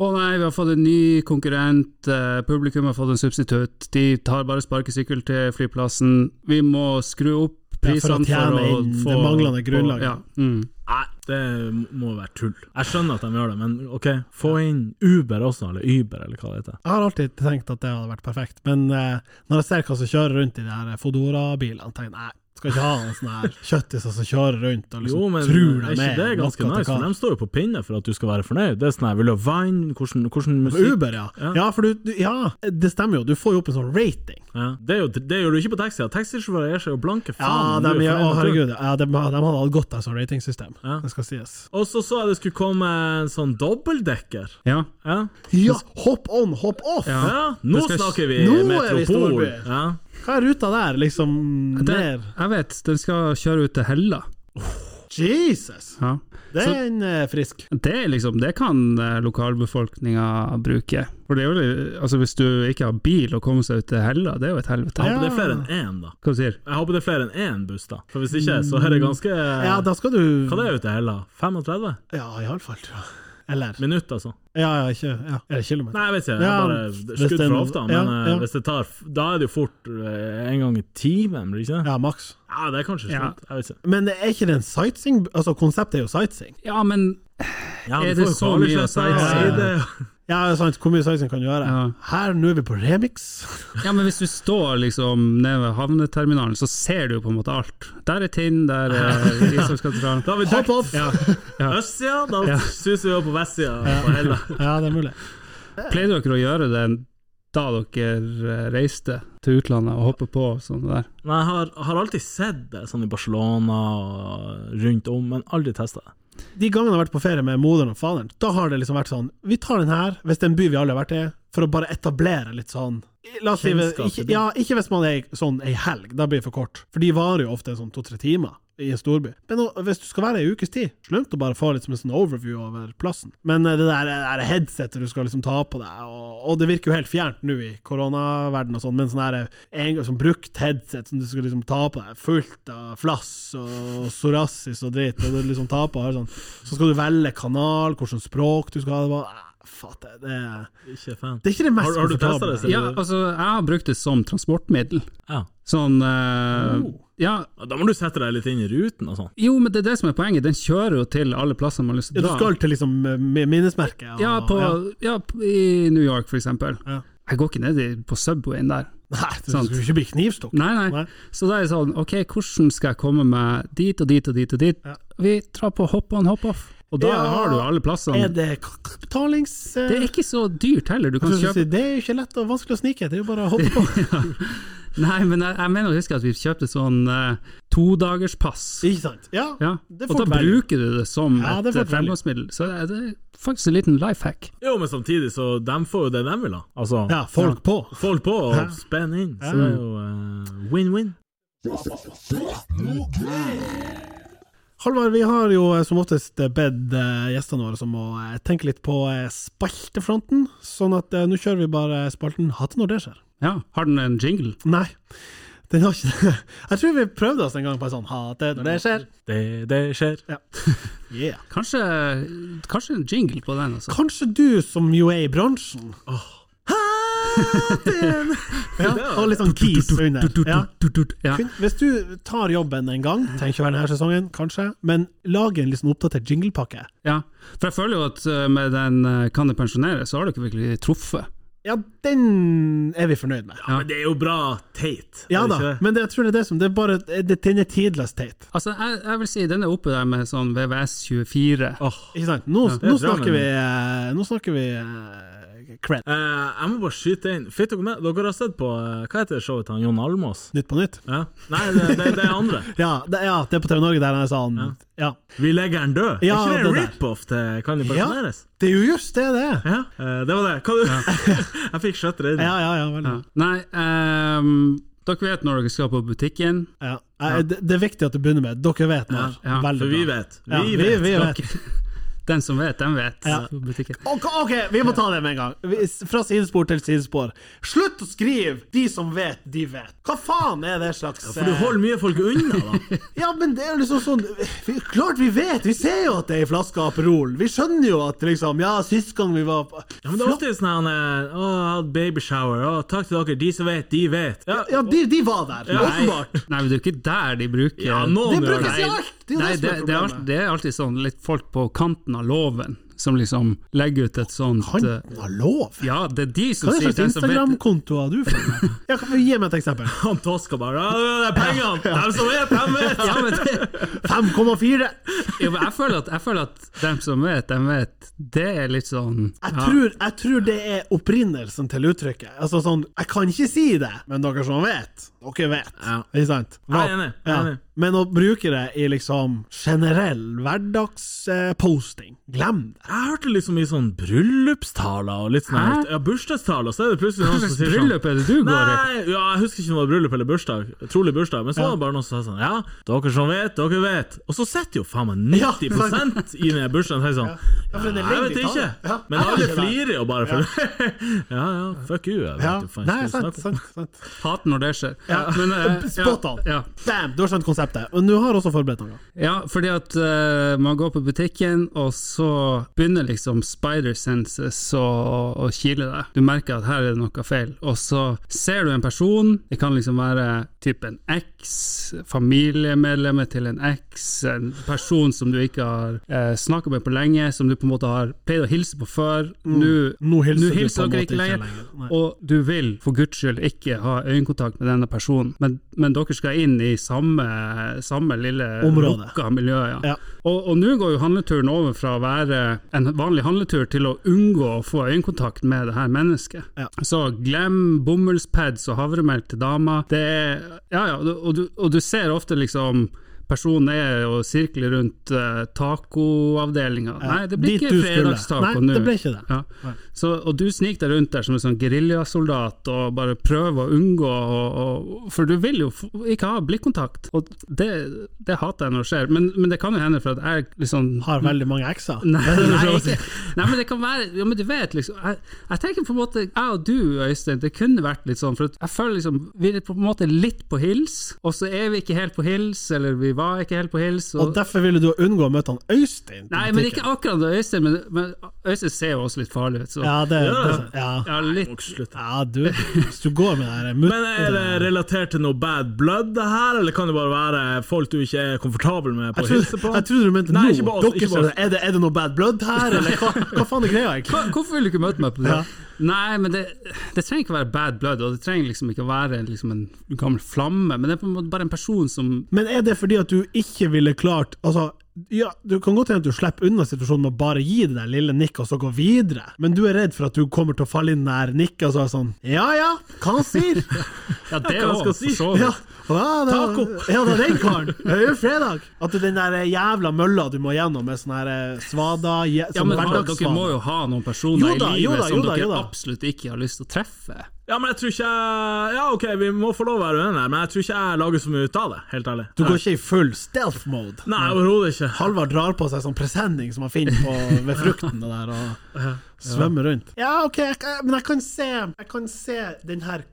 D: Å nei, vi har fått en ny konkurrent, eh, publikum har fått en substitutt, de tar bare sparkesykkel til flyplassen, vi må skru opp
B: Ja, for å
D: prisene
B: tjene inn det manglende grunnlaget.
D: Ja, mm.
C: Nei, det må jo være tull. Jeg skjønner at de gjør det, men OK, få inn Uber også, eller Uber, eller hva det heter.
B: Jeg har alltid tenkt at det hadde vært perfekt, men eh, når jeg ser hva som kjører rundt i de her Fodora-bilene, tenker jeg nei, skal ikke ha en sånn her kjøttiser som kjører rundt og liksom
C: Jo, men
B: tror
C: er
B: de
C: ikke det ganske
B: noe til
C: nice? For
B: hva-
C: de står jo på pinne for at du skal være fornøyd. Det er sånn her, vil du ha vann, hvordan, hvordan musikk
B: Uber, ja. ja.
C: Ja.
B: for du, du Ja, det stemmer jo. Du får jo opp en sånn rating.
C: ja. det, er jo, det gjør du ikke på taxi. Taxisjåfører er seg jo blanke
B: Ja,
C: faen.
B: de,
C: du er
B: ja, å,
C: fornøyd med turen.
B: herregud. Ja, de, de hadde hatt godt av et sånt ratingsystem.
C: Ja.
B: Det skal sies.
C: Og så så jeg det skulle komme en sånn dobbeltdekker.
D: ja.
C: Ja.
B: Ja, hopp on, hopp off!
C: ja. Nå
D: Det skal-
C: snakker vi
B: Nå er vi i
C: metropol.
B: storby.
C: ja.
B: Hva er ruta der, liksom?
D: Det,
B: Ned?
D: jeg vet, den skal kjøre ut til Hella.
B: Jesus!
D: Ja.
B: Den er eh, frisk.
D: Det, er liksom, det kan eh, lokalbefolkninga bruke. For det er jo, litt- altså, hvis du ikke har bil og kommer seg ut til Hella, det er jo et helvete.
C: Jeg håper det er flere enn én, da.
D: Hva du sier
C: Jeg håper det er flere enn én buss, da. For hvis ikke, så er det ganske
B: Mm. Ja, da skal du
C: Hva det er ute i Hella? 35
B: Ja, iallfall, tror jeg. Eller
C: minutter, altså?
B: Ja, ja, ikke ja. Er det kilometer?
C: Nei, jeg vet ikke.
B: Ja,
C: Jeg
B: hvis
C: bare skudd
B: det er
C: fra
B: en-
C: hofta. Men
B: ja,
C: eh,
B: ja.
C: hvis det tar f- Da er det jo fort eh, en gang i timen, blir det ikke det?
B: Ja, maks.
C: Ja. det er kanskje
D: Ja.
C: slutt. Jeg vet ikke.
B: Men er ikke det en sightseeing? Altså, konseptet er jo sightseeing.
D: Ja, men
C: Ja,
D: Er
C: du
D: det
C: får jo
D: så mye å
C: Kvaløysletta,
B: si?
C: Eide.
B: Ja, det er sant. Hvor mye sightseeing kan du gjøre?
D: Ja.
B: Her, nå er vi på remix.
D: Ja, men hvis du står liksom nede ved havneterminalen, så ser du jo på en måte alt. Der er Tinn, der er Isakskatedralen.
C: Da har vi
B: Hopp
C: dekt
B: off! Ja.
C: østsida, da
D: Ja.
C: suser vi over på vestsida på Hella.
B: det er mulig.
D: Pleide dere å gjøre det da dere eh, reiste til utlandet og hoppe på sånn der?
C: Men jeg har, har alltid sett det sånn i Barcelona og rundt om, men aldri testa det.
B: De gangene jeg har vært på ferie med moderen og faderen, da har det liksom vært sånn Vi tar den her, hvis det er en by vi alle har vært i, for å bare etablere litt sånn La oss si
C: Kjennskap
B: ikke,
C: til byen.
B: ja, ikke hvis man er i- sånn ei helg, da blir det for kort. For de varer jo ofte sånn to-tre timer i en storby. Men nå, hvis du skal være ei ukes tid, slumt å bare få litt som en sånn overview over plassen. Men eh, det der, det der headsetet du skal liksom ta på deg, og, og det virker jo helt fjernt nå i koronaverden og sånn, men sånn her eh, en, sånn brukt headset som du skal liksom ta på deg, fullt av flass og psoriasis og dritt, og du liksom tar på deg sånn, så skal du velge kanal, hvilket språk du skal ha, det bare, eh, fatte, det, er-
C: Ikke fan.
B: det er ikke det mest
C: Har- har du testet
B: komfortable.
C: det, Silje?
D: Ja, altså, jeg har brukt det som transportmiddel.
C: Ja.
D: Sånn eh,
B: Oh.
D: Ja,
C: Da må du sette deg litt inn i ruten og sånn.
D: jo, men det er det som er poenget. Den kjører jo til alle plasser man har lyst
B: Ja,
D: til
B: du
D: å dra.
B: skal til liksom eh, minnesmerket? og-
D: Ja, på, ja, i New York, for eksempel.
B: Ja.
D: Jeg går ikke ned i, på Subwayen der.
B: Nei, du
D: Sant.
B: skal jo ikke bli knivstukket.
D: Nei, nei.
B: Nei.
D: Så da er det sånn, ok, hvordan skal jeg komme meg dit og dit og dit og dit?
B: Ja.
D: Vi drar på hopp on, hopp off. Og da
B: Ja.
D: har du alle
B: Er
D: plassene. Det,
B: det k- k- betalings... eh,
D: er ikke så dyrt heller. Du kan
B: Jeg skulle
D: kjøpe
B: si, det er jo ikke lett og vanskelig å snike, det er jo bare å hoppe
D: <laughs>
B: på.
D: Nei, men jeg, jeg mener å huske at vi kjøpte sånn eh, todagerspass.
B: Ikke sant? Ja,
D: Ja.
B: det
D: Og
B: får
D: da
B: du velge.
D: bruker du det som
B: Ja, det
D: et
B: får
D: eh,
B: du velge.
D: fremgangsmiddel. Så det er, det er faktisk en liten life hack.
C: Jo, men samtidig, så de får jo det de vil ha. Altså,
B: Ja, folk på.
C: folk på og spenn inn, så det er jo eh, win-win.
B: Halvard, vi har jo eh, som oftest eh, bedt eh, gjestene våre om å eh, tenke litt på eh, spaltefronten, sånn at eh, nå kjører vi bare spalten Hatt når det skjer.
D: Ja, Har den en jingle?
B: Nei, den har ikke <laughs> det. Jeg tror vi prøvde oss en gang på en sånn Hatt det når det skjer.
C: Det, det skjer.
B: <laughs> Yeah.
D: Kanskje, kanskje en jingle på den, altså.
B: Kanskje du som jo er i bransjen Hatt
C: <laughs>
B: det! Ja, og litt sånn keys under. Ja.
D: Ja.
B: Kun- Hvis du tar jobben en gang, trenger ikke være denne sesongen, kanskje, men lag en liksom oppdatert jinglepakke.
D: Ja, for jeg føler jo at eh, med den eh, Kan det pensjonere, så har du ikke virkelig truffet.
B: Ja, den er vi fornøyd med.
C: Men det er jo bra teit.
B: Ja
C: er det
B: da,
C: ikke det?
B: men det, jeg tror det er det som Det er bare det, Den er tidløst teit.
D: Altså, jeg, jeg vil si den er oppe der med sånn VVS24.
C: Åh.
B: Ikke sant? Nå,
C: det er
B: nå
C: bra,
B: snakker
C: men-
B: vi eh, Nå snakker vi eh, cred.
C: Eh, jeg må bare skyte inn. Fikk dere med Dere har sett på eh, Hva heter det showet til han Jon Almaas?
B: Nytt på nytt.
C: Ja. Nei, det, det, det er andre.
B: <laughs> Ja, det, ja, det er på TV Norge der han er sånn Ja.
C: Vi legger den død.
B: Ja,
C: er ikke det
B: det
C: en
B: der.
C: rip-off til Kan de
B: Ja.
C: pensjoneres?
B: Det er jo just det det er!
C: Ja. eh, det var det. Hva du? <laughs> jeg fikk skjøtt redd.
B: Ja, ja, ja. Veldig.
D: Ja. Nei, ehm, dere vet når dere skal på butikken.
B: Ja. Eh, Det, det er viktig at du begynner med Dere vet når.
D: Ja, ja,
B: Veldig
C: For vi
B: bra.
C: vet. Vi
B: Ja,
C: vet.
B: vi, vi vet.
D: <laughs> Den som vet, den vet.
B: Ja.
D: På butikken.
B: Ok, ok, vi må ta det med en gang. Vi- Fra sidespor til sidespor. Slutt å skrive 'de som vet, de vet'. Hva faen er det slags
C: For du holder mye folk unna, da.
B: eh, Ja, men det er jo liksom sånn vi, Klart vi vet! Vi ser jo at det er ei flaske Aperol. Vi skjønner jo at liksom Ja, sist gang vi var på
C: Ja, men det er alltid sånn han eh, Å, jeg hadde babyshower. Å, takk til dere. De som vet, de vet. Ja,
B: Ja, de, de var der,
C: Nei.
B: åpenbart.
D: Nei, men det er jo ikke der de bruker
C: Ja, noen
B: Det
C: gjør
B: brukes i
D: Nei.
B: alt! Det er jo
D: Nei,
B: det som
D: det,
B: er
D: det, er
B: problemet.
D: alltid, det er alltid sånn litt folk på kanten av loven som liksom legger ut et sånt
B: Han
D: eh,
B: har lov!
D: Ja, det er de som
B: Hva er det
D: sier
B: slags
D: den som vet
B: Instagram-konto har du for? Ja, kan du gi meg et
C: <laughs>
B: eksempel.
C: Han Toska bare «Ja, Det er pengene! Dem som vet, dem vet!
D: ja, men det,
B: 5,4!
D: jo, men jeg, føler at, jeg føler at dem som vet, dem vet. Det er litt sånn
B: Jeg
D: ja.
B: tror, jeg tror det er opprinnelsen til uttrykket. Altså sånn, Jeg kan ikke si det, men dere som vet, dere vet.
C: Ja.
B: Ikke sant?
C: Jeg er enig. Jeg er
B: Ja.
C: enig.
B: Men å bruke det i liksom generell hverdagsposting, glem det.
C: Jeg hørte liksom i sånn bryllupstaler og litt sånn
D: Hæ?
C: her- Ja, bursdagstaler, så er det plutselig noen
D: Hva
C: som
D: slags
C: sier sånn
D: bryllup er det du går i?
C: Nei, ja, jeg husker ikke om det var bryllup eller bursdag. Trolig bursdag. Men så var det bare noen som sa sånn Ja, dere som vet, dere vet. Og så sitter jo faen meg 90 i den her bursdagen og sier sånn
B: Ja, for den er
C: «Nei,
B: lengre
C: Jeg vet
B: i
C: ikke.
B: tale. Ja,
C: Men
B: jeg
C: alle
B: vet ikke
C: flirer jo bare for det. <laughs> Ja, ja, fuck you. Jeg vet
B: Ja.
C: jo faen
B: Nei,
C: ikke hva jeg
B: sant,
C: skal snakke om.
B: sant, sant.
D: Hater når det skjer.
B: Ja.
D: <laughs> Men, eh,
B: <laughs> Spot on.
D: Ja, ja.
B: Bam, du har skjønt konseptet. Og du har også forberedt noe.
D: ja, fordi at eh, man går på butikken, og så begynner liksom spider senses å å kile deg. Du merker at her er det noe feil, og så ser du en person, det kan liksom være typ en eks, familiemedlemmet til en eks, en person som du ikke har eh, snakket med på lenge, som du på en måte har pleid å hilse på før. Nå
B: Mm. Nå hilser,
D: Nå
B: du på
D: hilser
B: en
D: dere
B: måte
D: ikke lenger.
B: Nei.
D: Og du vil for guds skyld ikke ha øyekontakt med denne personen, men, men dere skal inn i samme, samme lille
B: Område.
D: lukka miljø. Ja.
B: Ja.
D: Og, og nå går jo handleturen over fra å være en vanlig handletur til å unngå å få øyekontakt med det her mennesket.
B: Ja.
D: Så glem bomullspads og havremelk til dama. Det er, ja, ja, og, du, og du ser ofte liksom Personen er og sirkler rundt uh, tacoavdelinga.
B: Ja,
D: Nei, det blir
B: dit
D: ikke
B: du skulle.
D: fredagstaco nå.
B: Nei, det ble ikke det.
D: Ja. Så, og du sniker deg rundt der som en sånn geriljasoldat og bare prøver å unngå og, og, For du vil jo f- ikke ha blikkontakt, og det, det hater jeg når det skjer. Men, men det kan jo hende for at jeg liksom <laughs>
B: Har veldig mange ekser. <laughs>
D: Nei, nei, ikke. nei, men det kan være ja, men du vet liksom jeg, jeg tenker på en måte Jeg og du, Øystein, det kunne vært litt sånn, for at jeg føler liksom Vi er på en måte litt på hils, og så er vi ikke helt på hils, eller vi var ikke helt på hils.
B: Og derfor ville du unngå å møte han Øystein. på
D: Nei, men ikke
B: butikken.
D: akkurat det, Øystein, men, men Øystein ser jo også litt farlig ut, så
B: Ja, det, det ja.
D: ja, litt
C: Må ikke slutte.
B: ja, du Hvis du går med det her mutt-
C: Men er det relatert til noe bad blood, det her, eller kan det bare være folk du ikke er komfortabel med på
B: Jeg
C: å
B: trodde,
C: hilse på?
B: jeg trodde du mente
C: Nei,
B: nå.
C: ikke bare oss,
B: Dere
C: ikke
B: som-
C: bare oss.
B: er, det, er det noe bad blood her, eller
C: <laughs>
B: hva, hva faen er greia? egentlig?
D: Hva, hvorfor vil du ikke møte meg på det?
B: Ja.
D: Nei, men det, det trenger ikke være bad blood, og det trenger liksom ikke å være liksom en gammel flamme, men det er på en måte bare en person som
B: Men er det fordi at du ikke ville klart Altså, ja, du kan godt hende at du slipper unna situasjonen med å bare gi det der lille nikket og så gå videre, men du er redd for at du kommer til å falle inn nær nikket og så er det sånn Ja ja, hva han sier?
C: <laughs>
D: Ja, det
C: hva
D: også,
C: skal jeg si?
D: for så
B: Ja,
D: vidt.
B: ja, det,
C: Taco.
B: Ja, det er den karen. Det er jo fredag. At det er den der jævla mølla du må gjennom med sånn her eh, svada je-
D: Ja,
B: Sånn
D: men har- dere må
B: hverdagssvada.
D: jo ha noen personer
B: Jo da,
D: i livet
B: jo da, jo
D: som
B: da, jo
D: dere
B: da.
D: absolutt ikke har lyst til å treffe.
C: Ja, men jeg tror ikke jeg- Ja, OK, vi må få lov å være uenige, her, men jeg tror ikke jeg lager så mye ut av det, helt ærlig.
B: Du går ikke i full stealth mode.
C: Nei, overhodet ikke.
B: Halvard drar på seg sånn presenning som han finner på ved frukten og der, <laughs> og svømmer rundt. Ja, OK, jeg, kan- men jeg kan se Jeg kan se den her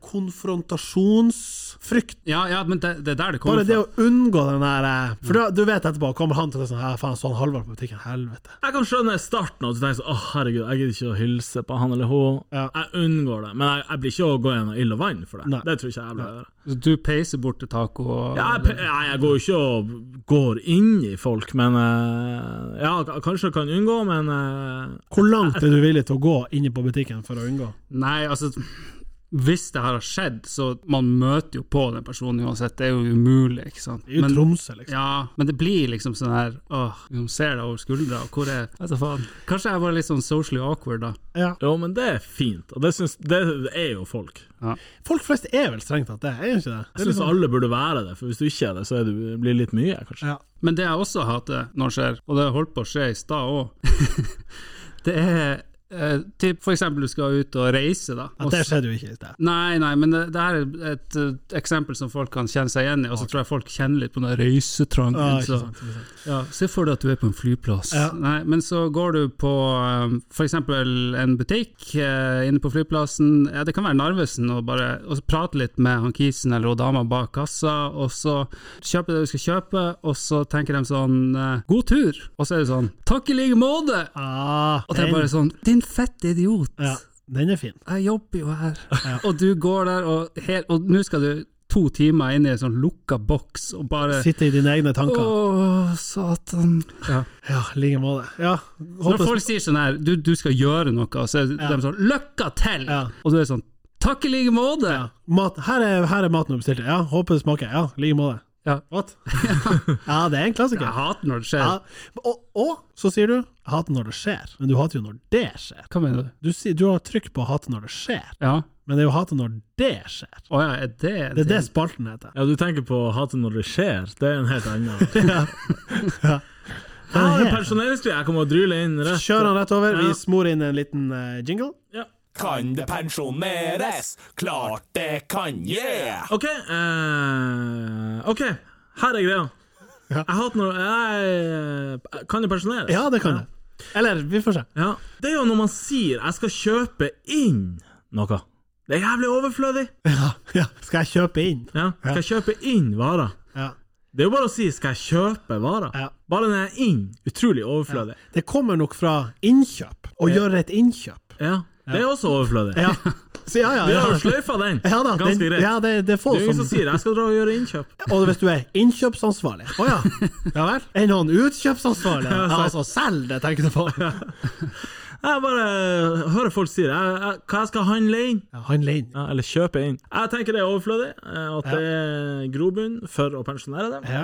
B: konfrontasjonsfrykten.
D: Ja, ja, men det, det er der det
B: Bare
D: kommer
B: det
D: fra.
B: å unngå den der eh, For da, du vet etterpå, kommer han til det sånn Ja, faen, sånn Halvard på butikken. Helvete.
C: Jeg kan skjønne starten, at du tenker sånn Å, herregud, jeg gidder ikke å hilse på han eller hun.
B: Ja.
C: Jeg unngår det, men jeg, jeg blir ikke å gå gjennom ild og vann for det.
B: Nei.
C: Det tror ikke jeg blir å gjøre.
D: Du peiser bort til taco og
C: Ja, jeg, pe- nei, jeg går jo ikke og går inn i folk, men eh, Ja, k- kanskje jeg kan unngå, men eh,
B: Hvor langt er du villig til å gå inne på butikken for å unngå?
D: Nei, altså hvis det her har skjedd, så man møter jo på den personen uansett, det er jo umulig, ikke sant.
B: Det er jo
D: Men-
B: Tromsø, liksom.
D: Ja, men det blir liksom sånn her Åh, liksom ser deg over skuldra, og hvor er Vet du faen. Kanskje jeg var litt sånn socially awkward, da.
B: Ja.
C: Jo, men det er fint, og det, syns, det er jo folk.
B: Folk flest er vel strengt tatt det, er jo ikke det? det er
C: Jeg syns
B: liksom-
C: alle burde være det, for hvis du ikke er det, så er du, blir det litt mye, kanskje.
B: ja.
D: Men det jeg også hater når det skjer, og det holdt på å skje i stad òg, <laughs> det er eh, typ for eksempel du skal ut og reise, da.
B: Ja,
D: og
B: det
D: s-
B: skjedde jo ikke i sted.
D: Nei, nei, men det, det her er et eh, eksempel som folk kan kjenne seg igjen i, og så tror jeg folk kjenner litt på den reisetrangen.
B: Ja, Ah, ikke
D: så-
B: sant, ikke sant.
D: Ja, Se for deg at du er på en flyplass.
B: Ja.
D: Nei, men så går du på f.eks. en butikk eh, inne på flyplassen. Ja, Det kan være Narvesen, og, bare, og så prate litt med han kisen eller hun dama bak kassa. Og så kjøper du det du skal kjøpe, og så tenker de sånn eh, 'god tur', og så er det sånn 'takk i like måte'.
B: Ah,
D: Og det
B: den,
D: er bare sånn 'din fette idiot'.
B: ja, den er fin.
D: Jeg jobber jo her. <laughs> Og du går der, og helt- og nå skal du to timer inn i en sånn lukka boks og bare
B: Sitte i dine egne tanker.
D: Å, satan. Ja.
B: Ja, i like måte. Ja,
D: Når
B: håper-
D: folk sier sånn her, du, du skal gjøre noe, og så er
B: Ja.
D: de sånn 'løkka til',
B: Ja.
D: og du er sånn 'takk i like måte'.
B: mat, her, er, her er maten du bestilte. Ja, håper det smaker. Ja, i like måte.
D: Ja.
B: <laughs> What? ja, det er en klassiker.
D: Jeg hater når det skjer.
B: Ja. Og, og så sier du 'jeg hater når det skjer', men du hater jo når det skjer.
D: Hva mener du?
B: Du, sier, du har trykk på 'hate når det skjer',
D: Ja.
B: men det er jo 'hate når det skjer'.
D: Å ja, er det en
B: Det er det
D: ting?
B: spalten heter.
C: Ja, du tenker på hatet når det skjer. Det er en helt
B: <laughs>
C: annen. Jeg har en pensjoneringsgreie jeg kommer å dryle inn rett.
B: Kjør han rett over.
C: Ja.
B: Vi smor inn en liten eh, jingle.
C: Ja.
A: Kan det pensjoneres? Klart det kan, yeah!
C: OK. eh, OK, her er greia.
B: Ja.
C: Jeg hater når jeg Kan jo pensjoneres.
B: Ja, det kan du. Eller, vi får se.
C: Ja. Det er jo når man sier 'jeg skal kjøpe inn' noe. Det er jævlig overflødig.
B: Ja, ja. Skal jeg kjøpe inn?
C: Ja. Skal jeg kjøpe inn varer?
B: Ja.
C: Det er jo bare å si 'skal jeg kjøpe varer'?
B: Ja.
C: Bare den er inn. Utrolig overflødig.
B: Det kommer nok fra innkjøp. Å gjøre et innkjøp.
C: Ja. Det er også overflødig.
B: Ja. Så ja, ja.
C: Vi har
B: ja.
C: jo sløyfa den.
B: Ja da,
C: Ganske
B: den,
C: greit.
B: ja, det, det er få
C: det er ingen
B: som
C: som sier 'jeg skal dra og gjøre innkjøp'.
B: Og hvis du er innkjøpsansvarlig Å
C: <laughs>
B: ja. Ja vel? Er noen utkjøpsansvarlig? Ja, altså, selg det, tenker du på.
C: Jeg bare eh, hører folk si det. Jeg, jeg, hva jeg skal handle inn?
B: Ja, handle inn.
C: Ja, eller kjøpe inn. Jeg tenker det er overflødig, eh, at det er grobunn for å pensjonere dem.
B: Ja.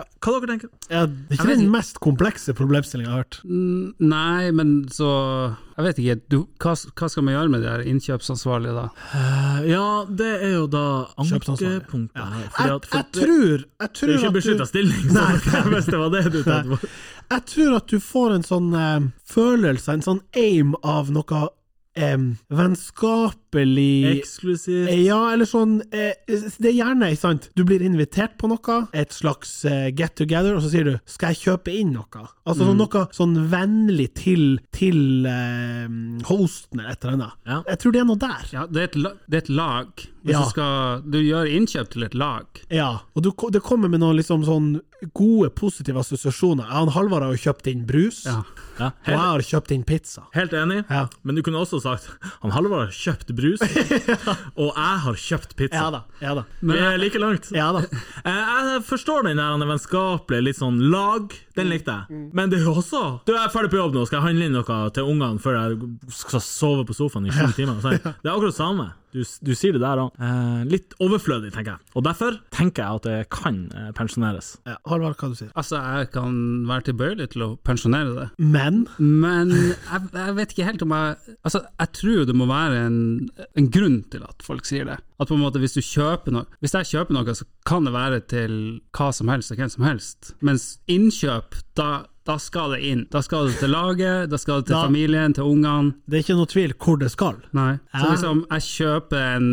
C: Eh, Hva dere tenker
B: Ja, det er ikke den mest komplekse problemstillinga jeg har hørt.
D: Mm, Nei, men så Jeg vet ikke. Du, hva, hva skal man gjøre med de her innkjøpsansvarlige, da?
B: Eh,
C: Ja, det er jo da
B: Kjøpsansvarlig.
C: ankepunktet her. Fordi
B: Jeg,
C: at for
B: jeg tror Jeg
C: det er
B: tror
C: jo ikke
B: at du
C: beskytta stilling, så hvis <laughs> det var det du tenkte på.
B: jeg tror at du får en sånn eh, følelse, en sånn aim av noe eh, vennskapelig
C: Eksklusivt.
B: Eh, Ja, eller sånn eh, Det er gjerne, ikke sant? Du blir invitert på noe, et slags eh, get together, og så sier du 'skal jeg kjøpe inn noe'? Altså sånn noe sånn vennlig til, til eh, hosten eller et eller annet.
C: Ja.
B: Jeg tror det er noe der.
D: Ja, det er et, la, det er et lag. Hvis
B: Ja.
D: du skal Du gjør innkjøp til et lag.
B: Ja, og du, det kommer med noen liksom sånn gode, positive assosiasjoner. Ja, han Halvard har jo kjøpt inn brus,
D: Ja.
C: Ja,
B: og jeg
C: helt,
B: har kjøpt inn pizza.
C: helt enig,
B: Ja.
C: men du kunne også sagt han Halvard har kjøpt
B: <laughs>
C: brus, og jeg har kjøpt pizza.
B: Ja da. Ja da.
C: Vi er like langt.
B: Ja da.
C: Eh, Jeg forstår den der han er vennskapelig, litt sånn lag.
B: Mm.
C: Den likte jeg. Men det er jo også Du, jeg er ferdig på jobb nå, skal jeg handle inn noe til ungene før jeg skal sove på sofaen i sju
B: <laughs>
C: timer? Så jeg- Det er akkurat det samme. Du, du sier det der òg. Eh, litt overflødig, tenker jeg. Og derfor tenker jeg at det kan eh, pensjoneres.
B: <laughs> Ja, Halvard, hva du sier
D: Altså, jeg kan være tilbøyelig til å pensjonere det.
B: Men
D: Men jeg, jeg vet ikke helt om jeg Altså, jeg tror det må være en, en grunn til at folk sier det. At på en måte hvis du kjøper noe Hvis jeg kjøper noe, så kan det være til hva som helst og hvem som helst. Mens innkjøp, da, da skal det inn. Da skal det til laget, da skal det til
B: Da-
D: familien, til ungene.
B: det er ikke noe tvil hvor det skal.
D: Nei. Så
B: Ja.
D: liksom, jeg kjøper en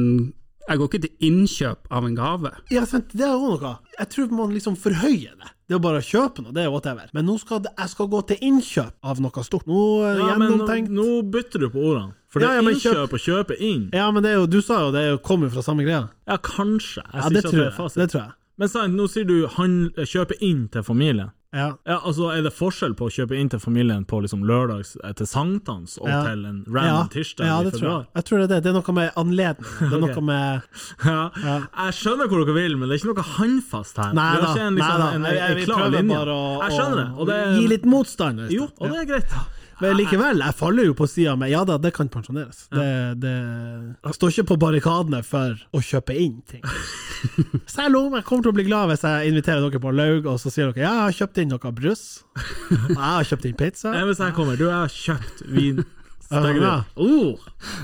D: Jeg går ikke til innkjøp av en gave.
B: Ja, sant, det er jo noe. Jeg tror man liksom forhøyer det. Det er jo bare å kjøpe noe, det er jo whatever. Men nå skal det, jeg skal gå til innkjøp av noe stort. Nå eh, er det
C: Ja, men nå,
B: gjennomtenkt.
C: nå bytter du på ordene. For det
B: Ja,
C: er
B: ja, men kjøp-
C: innkjøp og kjøpe inn.
B: Ja, men det er jo, du sa jo det er jo- kommer jo fra samme greia.
C: Ja, kanskje. Jeg
B: Ja,
C: sier
B: det
C: ikke at
B: tror
C: det er
B: jeg.
C: fasit.
B: Det tror jeg.
C: Men sant, nå sier du han, kjøpe inn til familien.
B: Ja.
C: Ja, altså Er det forskjell på å kjøpe inn til familien på liksom lørdags eh, til sankthans og
B: Ja.
C: til en
B: Ja,
C: random tirsdag
B: ja,
C: i
B: det tror jeg.
C: februar?
B: Jeg tror det er det. Det er noe med anledning.
C: <laughs>
B: Det er noe med
C: Ja. Jeg skjønner hvor dere vil, men det er ikke noe håndfast her.
B: Nei
C: Vi har
B: da.
C: ikke en,
B: nei
C: liksom,
B: da.
C: En,
B: Jeg,
C: en,
B: jeg, vi
C: klar
B: prøver
C: linje.
B: bare å,
C: jeg skjønner det. Og det
B: å gi litt motstand. hvis
C: Jo,
B: det-
C: og det er greit.
B: Men likevel, jeg faller jo på sida med ja da, det kan pensjoneres. Det, det jeg står ikke på barrikadene for å kjøpe inn
D: <laughs>
B: ting. Selv om jeg kommer til å bli glad hvis jeg inviterer dere på en laug, og så sier dere ja, jeg har kjøpt inn noe
D: <laughs>
B: brus. Jeg har kjøpt inn pizza.
C: Nei, Hvis jeg kommer Du, jeg har kjøpt vin. Stenger du?
B: Ja.
C: Oh,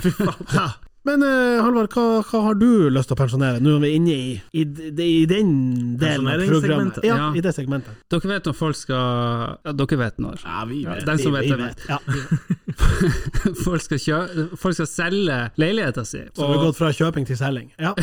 C: fy faen.
B: Men eh, Halvard, hva, hva har du lyst til å pensjonere, nå er vi inne i, i, d- i den delen av programmet?
C: Pensjoneringssegmentet.
B: Ja,
D: Ja.
B: i det segmentet.
D: Dere vet når folk skal Ja, dere vet når.
C: Ja, vi vet.
D: Den som vet,
B: Vi-
D: den
B: vi
D: vet.
B: Ja.
D: <laughs> Folk skal, kjø folk skal selge leiligheten sin.
B: Så vi har gått fra kjøping til selging.
D: <laughs>
B: Ja,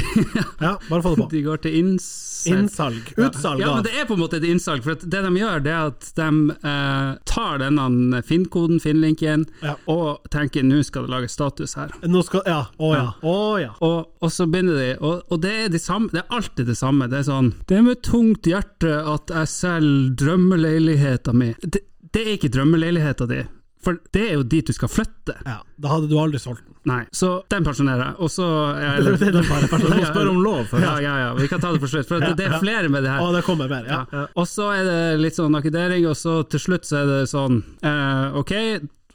B: ja bare få det på.
D: De går til innsalg.
B: Innsalg. Utsalg
D: Ja, men
B: av
D: det er på en måte et innsalg. For at det de gjør, det er at de eh, tar denne Finn-koden, Finn-linken,
B: Ja.
D: og tenker nå skal det lages status her.
B: Nå skal Ja, å ja. Å ja.
D: Og, og så begynner de, og, og det, er de samme, det er alltid det samme. Det er sånn Det er med tungt hjerte at jeg selger drømmeleiligheta mi. Det, det er ikke drømmeleiligheta di, for det er jo dit du skal flytte.
B: Ja, da hadde du aldri solgt den.
D: Nei, så den pensjonerer jeg, og så
B: <laughs> Det er den bare
C: <laughs> Du må
B: personen.
C: spørre om lov først.
D: Ja, ja, ja, vi kan ta det på slutt, for det, det er flere med det her.
B: Å, det kommer mer. Ja.
D: Ja. Og så er det litt sånn akkreditering, og så til slutt så er det sånn eh, Ok,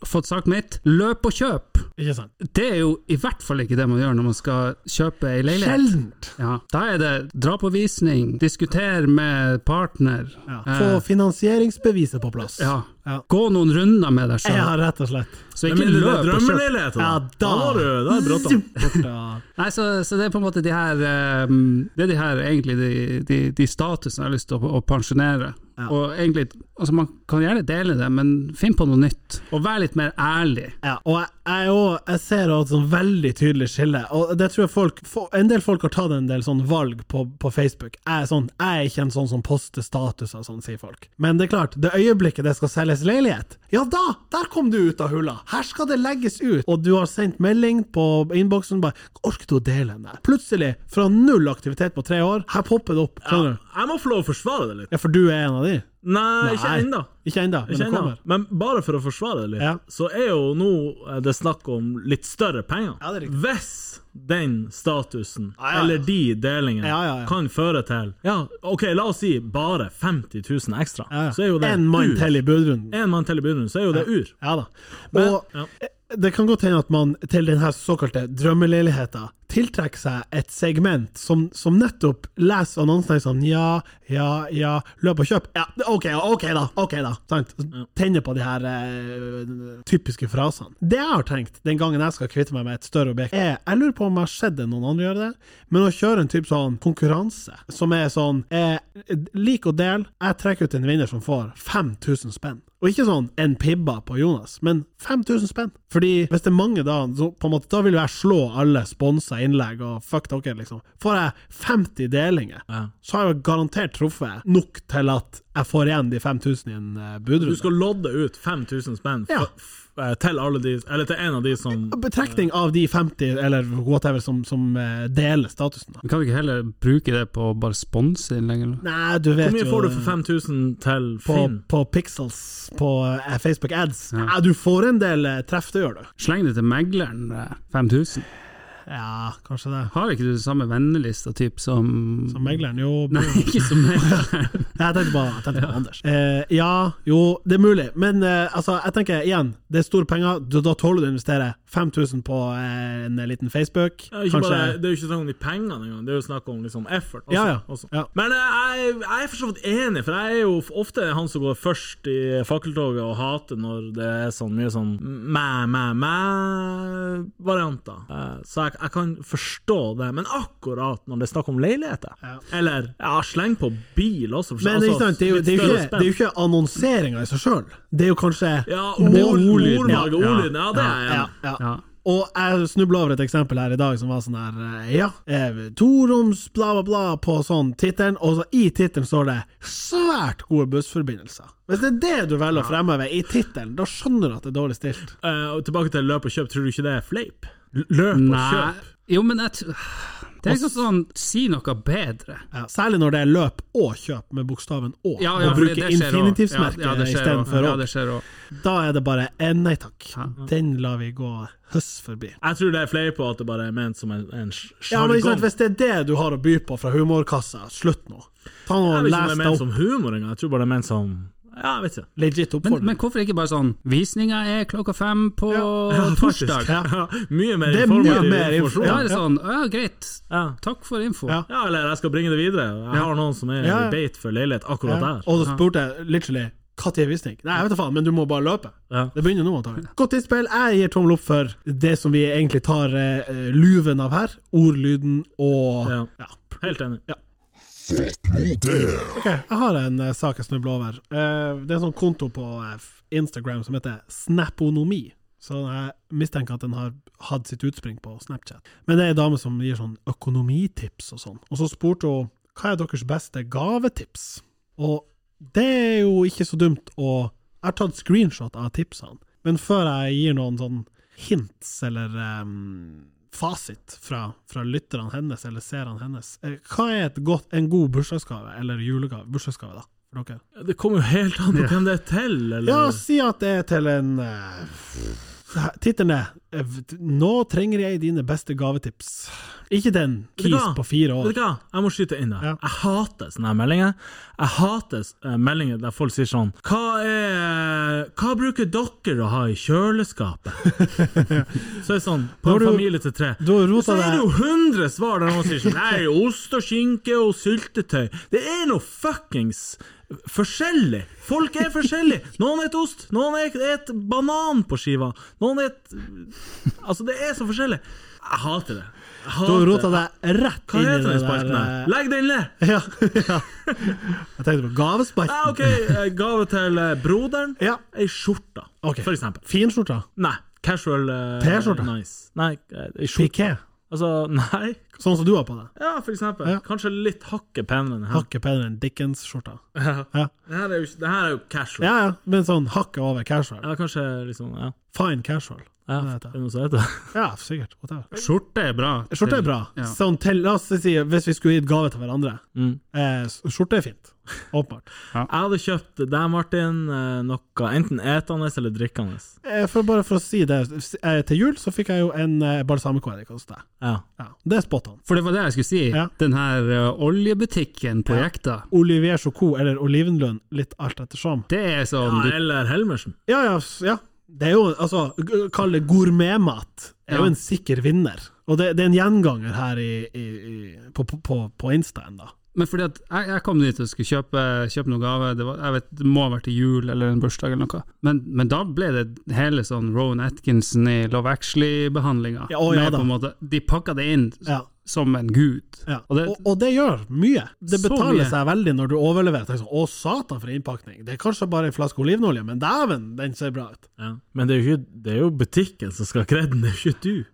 D: fått sagt mitt. Løp og kjøp!
B: Ikke sant?
D: Det er jo i hvert fall ikke det man gjør når man skal kjøpe ei leilighet.
B: Sjeldent!
D: Ja. Da er det dra på visning, diskuter med partner.
B: Ja.
D: Eh,
B: Få finansieringsbeviset på plass.
D: ja.
B: Ja.
D: Gå noen runder med deg sjøl.
B: Ja, rett og slett.
D: Så
C: Men
D: ikke
C: mindre det er
D: løp og kjøp.
C: drømmeleilighet, da.
B: Ja, da
C: har du, da er det bråttom.
B: Borta.
D: Nei, så, så det er på en måte de her eh, Det er de her egentlig de, de, de statusene jeg har lyst til å, å pensjonere.
B: Ja.
D: Og egentlig, altså Man kan gjerne dele det, men finn på noe nytt. Og vær litt mer ærlig.
B: Ja, og jeg, jeg, er også, jeg ser også et sånn veldig tydelig skille, og det tror jeg folk få- En del folk har tatt en del sånn valg på, på Facebook. Jeg er, sånn, jeg er ikke en sånn som poster status og sånn, sier folk. Men det er klart, det øyeblikket det skal selges leilighet, ja da! Der kom du ut av hullet! Her skal det legges ut! Og du har sendt melding på innboksen bare 'Orker du å dele den der?' Plutselig, fra null aktivitet på tre år, her popper det opp. Skjønner du?
C: Jeg må få lov å forsvare det litt.
B: Ja, for du er en av de?
C: Nei, ikke
B: Nei.
C: ennå.
B: Ikke ennå, men
C: Ikke
B: det
C: ennå.
B: kommer.
C: Men bare for å forsvare det litt,
B: Ja.
C: så er jo nå eh, det snakk om litt større penger.
B: Ja, det er riktig.
C: Hvis den statusen,
B: Ja, ja, ja.
C: eller de delingene,
B: Ja, ja, ja.
C: kan føre til Ja, OK, la oss si bare 50 000 ekstra,
B: Ja, ja.
C: så er jo det
B: en mann
C: ur.
B: til i budrunden.
C: En mann til i begynnelsen, så er jo det ur.
B: Ja da.
C: Men-
B: og eh,
C: ja.
B: det kan godt hende at man til denne såkalte drømmeleiligheten tiltrekker seg et segment som, som nettopp leser annonsene sånn ja, ja, ja, løp og kjøp. Ja, OK, ja, ok da, ok da. Sant? Tenner på de her eh, typiske frasene. Det jeg har tenkt den gangen jeg skal kvitte meg med et større objekt, er Jeg lurer på om jeg har sett det noen andre gjøre det, men å kjøre en type sånn konkurranse som er sånn eh, Lik og del, jeg trekker ut en vinner som får 5000 spenn. Og ikke sånn en pibba på Jonas, men 5000 spenn. Fordi hvis det er mange da, så på en måte, da vil jo jeg slå alle sponsa innlegg og fuck dere, liksom. Får jeg 50 delinger,
C: Ja.
B: så har jeg jo garantert truffet nok til at jeg får igjen de 5000 i en eh,
C: Du
B: budrunde.
C: skal lodde ut 5000 spenn
B: Ja.
C: f- f- eh, til alle de Eller til en av de som
B: Betrekning av de 50, eller whatever, som, som eh, deler statusen. da.
D: Men kan du ikke heller bruke det på å bare sponse innlegg? eller noe?
B: Nei, du vet
C: Hvor
B: jo
C: mye får du for 5000 til
B: på,
C: Finn?
B: på pixels på eh, Facebook ads?
D: Ja.
B: Ja, du får en del eh, treff, det gjør du.
D: Sleng det til megleren. eh, 5000.
B: Ja, kanskje det.
D: Har ikke du samme vennelista typ som,
B: Som megleren, jo.
D: Nei, ikke som
B: <laughs>
D: megleren.
B: Jeg tenkte bare, jeg
C: <laughs>
B: tenkte bare Anders. Eh, ja, jo, det er mulig, men eh, altså, jeg tenker igjen, det er store penger, du, da tåler du å investere 5000 på eh, en liten Facebook.
C: Ja, ikke bare, det er jo ikke snakk om de pengene engang, det er jo snakk om liksom effort. Også,
B: Ja, ja.
C: Også.
B: Ja.
C: Men eh, jeg, jeg er for så vidt enig, for jeg er jo f- ofte han som går først i fakkeltoget og hater når det er sånn mye sånn mæ-mæ-mæ-varianter. Eh, Så jeg, jeg kan forstå det, men akkurat når det er snakk om leiligheter,
B: Ja.
C: eller ja, sleng på bil også for-
B: Men
C: altså,
B: ikke sant, det er jo, det er jo
C: litt
B: ikke,
C: større
B: det er jo ikke annonseringa i seg sjøl, det er jo kanskje
C: Ja,
B: Det er
C: ord,
B: ordlyden,
C: ordvalget,
B: ja.
C: ordlyden, ja, det er jeg.
B: ja, ja.
D: Ja.
B: Og jeg snubla over et eksempel her i dag som var sånn her eh, Ja, eh, toroms bla, bla, bla på sånn tittelen, og så i tittelen står det 'svært gode bussforbindelser'. Hvis det er det du velger å fremheve i tittelen, da skjønner du at det er dårlig stilt.
C: Eh, og tilbake til løp og kjøp, tror du ikke det er fleip? L- Løp og
D: Nei.
C: kjøp?
D: Jo, men jeg t- Det er ikke sånn Si noe bedre.
B: Ja, særlig når det er løp og kjøp med bokstaven 'å',
D: Ja, ja,
B: og
D: for
B: bruke
D: det- det skjer også.
B: infinitivsmerket
D: Ja, ja, det skjer også.
B: istedenfor
D: Ja,
B: å.
D: det skjer også.
B: Da er det bare eh, 'nei takk'.
D: Ja.
B: Den lar vi gå høss forbi.
C: Jeg tror det er fleip, og at det bare er ment som en, en sj-
B: Ja, men ikke sant,
C: sjargong.
B: Hvis det er det du har å by på fra humorkassa, slutt nå. Ta nå og
C: Jeg vet ikke om
D: liksom
C: det
B: Les
C: er
B: deg
C: ment
B: opp.
C: som humor engang. Jeg tror bare det er ment som Ja, jeg vet
B: <laughs>
C: ikke.
B: Legit
D: Men,
B: oppfordring.
D: men hvorfor ikke bare sånn Visninga er klokka fem på torsdag.
B: <laughs> Ja.
C: Ja, mye mer
B: Det er mye
C: informativ
B: mer
C: informasjon.
D: Da
B: informasjon.
C: Ja.
D: er det
B: Ja.
D: sånn Ja, greit.
C: Ja.
D: Takk for info.
B: Ja.
C: eller jeg skal bringe det videre. Jeg har noen som er
B: Ja, ja.
C: i beit for leilighet
B: Ja.
C: akkurat der.
B: Og da spurte jeg literally hva tid er visning? Nei, jeg vet da faen, men du må bare løpe.
C: Ja.
B: Det begynner nå, antagelig. Godt innspill. Jeg gir tommel opp for det som vi egentlig tar eh, eh, luven av her. Ordlyden og
C: Ja.
B: ja.
C: Helt enig.
B: Ok, jeg har en eh, sak jeg snubler over. Eh, det er en sånn konto på eh, f- Instagram som heter Snaponomi. Så jeg mistenker at den har hatt sitt utspring på Snapchat. Men det er ei dame som gir sånn økonomitips og sånn. Og så spurte hun hva er deres beste gavetips? Og det er jo ikke så dumt å Jeg har tatt screenshot av tipsene, men før jeg gir noen sånn hints eller em, fasit fra, fra lytterne hennes eller seerne hennes, eh, hva er et godt, en god bursdagsgave eller julegave? Bursdagsgave, da, for dere?
C: Det kommer jo helt an på hvem det er til, eller
B: Ja, si at det er til en eh, Tittelen er eh, Nå trenger jeg dine beste gavetips. Ikke den.
C: Vet du
B: Kis
C: hva?
B: på fire
C: Vet
B: år.
C: du hva? Jeg må skyte inn der.
B: Ja.
C: Jeg hater sånne her meldinger. Jeg hater eh, meldinger der folk sier sånn Hva, er, hva bruker dere å ha i
B: <laughs>
C: kjøleskapet? Så er det sånn, på
B: Nå har
C: en
B: du-
C: familie til tre.
B: du har rota
C: Så er det
B: deg-
C: jo 100 svar der noen sier sånn
B: <laughs>
C: Nei, ost og skinke og syltetøy. Det er noe fuckings forskjellig. Folk er forskjellige. Noen et ost, noen et, et banan på skiva, noen et Altså, det er så forskjellig. Jeg hater det. Jeg
B: Du
C: hater
B: har
C: det.
B: rota deg rett
C: Hva
B: inn i
C: heter
B: det
C: den spalten her?
B: der. eh, <laughs>
C: Legg den ned!
B: Ja, ja. Jeg tenkte på gavespalten.
C: Ah, ok, eh, gave til eh, broderen.
B: Ja.
C: Ei skjorte,
B: Ok.
C: for eksempel.
B: Finskjorta.
C: Nei, casual eh,
B: T-skjorte?
C: Nice. Nei, eh, ei skjorte.
B: Piqué.
C: Altså, nei.
B: Sånn som du har på deg.
C: Ja, for eksempel.
B: Ja.
C: Kanskje litt hakket penere enn her.
B: Hakket bedre enn Dickens-skjorta. Ja.
C: Ja. Det, her er jo, det her er jo casual.
B: Ja, ja, men sånn hakket over casual.
C: Ja, kanskje liksom Ja,
B: Fine casual.
C: ja
B: Hva
C: det
B: heter det?
C: er noe som heter <laughs> det.
B: Ja, sikkert. Whatever.
D: Skjorte er bra.
B: Skjorte er bra.
D: Ja.
B: Sånn til, la oss si, hvis vi skulle gitt gave til hverandre
C: Mm.
B: eh, Skjorte er fint. Åpenbart.
C: Jeg hadde kjøpt deg, Martin, eh, noe enten etende eller drikkende.
B: Eh, For bare for å si det, s- eh, til jul så fikk jeg jo en eh, balsamicoeddik hos deg.
C: Ja.
B: Ja, det er spot on.
D: For det var det jeg skulle si.
B: Ja.
D: Den her eh, oljebutikken på Jekta,
B: Olivier Choco eller olivenlønn, litt alt ettersom.
D: det er sånn
C: ja
D: du
C: eller Helmersen.
B: Ja, ja, s- ja. Det er jo, altså, g- kall det gourmetmat, er jo
D: Ja.
B: en sikker vinner. Og det, det er en gjenganger her i, i, i, på, på- på, på Instaen, da.
D: Men fordi at jeg, jeg kom dit og skulle kjøpe, kjøpe noen gave, det, var, jeg vet, det må ha vært til jul eller en bursdag eller noe, men, men da ble det hele sånn Rowan Atkinson i Love Actually-behandlinga.
B: Ja, å, ja da.
D: på en måte, de pakka det inn s-
B: Ja.
D: som en gud.
B: Ja. Og,
D: Og det-
B: og, det gjør mye. Det
D: Så
B: betaler
D: mye.
B: seg veldig når du overleverer. Tenk sånn, Å, satan, for en innpakning. Det er kanskje bare en flaske olivenolje, men dæven, den ser bra ut.
C: Ja. Men det er, jo ikke, det er jo butikken som skal ha kreden, det er jo ikke du.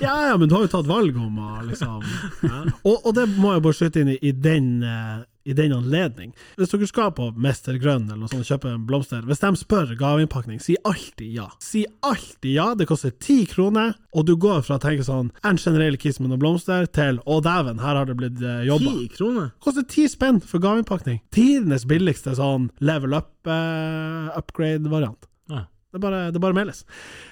B: Ja, ja, men du har jo tatt valg om å liksom og, og det må jeg bare skyte inn i, i den eh, i den anledning. Hvis dere skal på Mester Grønn eller noe sånt, kjøpe en blomster, hvis de spør gaveinnpakning, si alltid ja. Si alltid ja, det koster ti kroner, og du går fra å tenke sånn en generell kiss med noen blomster, til å dæven, her har det blitt eh, jobba.
C: Ti kroner?
B: Koster ti spenn for gaveinnpakning. Tidenes billigste sånn level up, eh, upgrade-variant.
C: Ja.
B: Det er bare, det er bare meldes.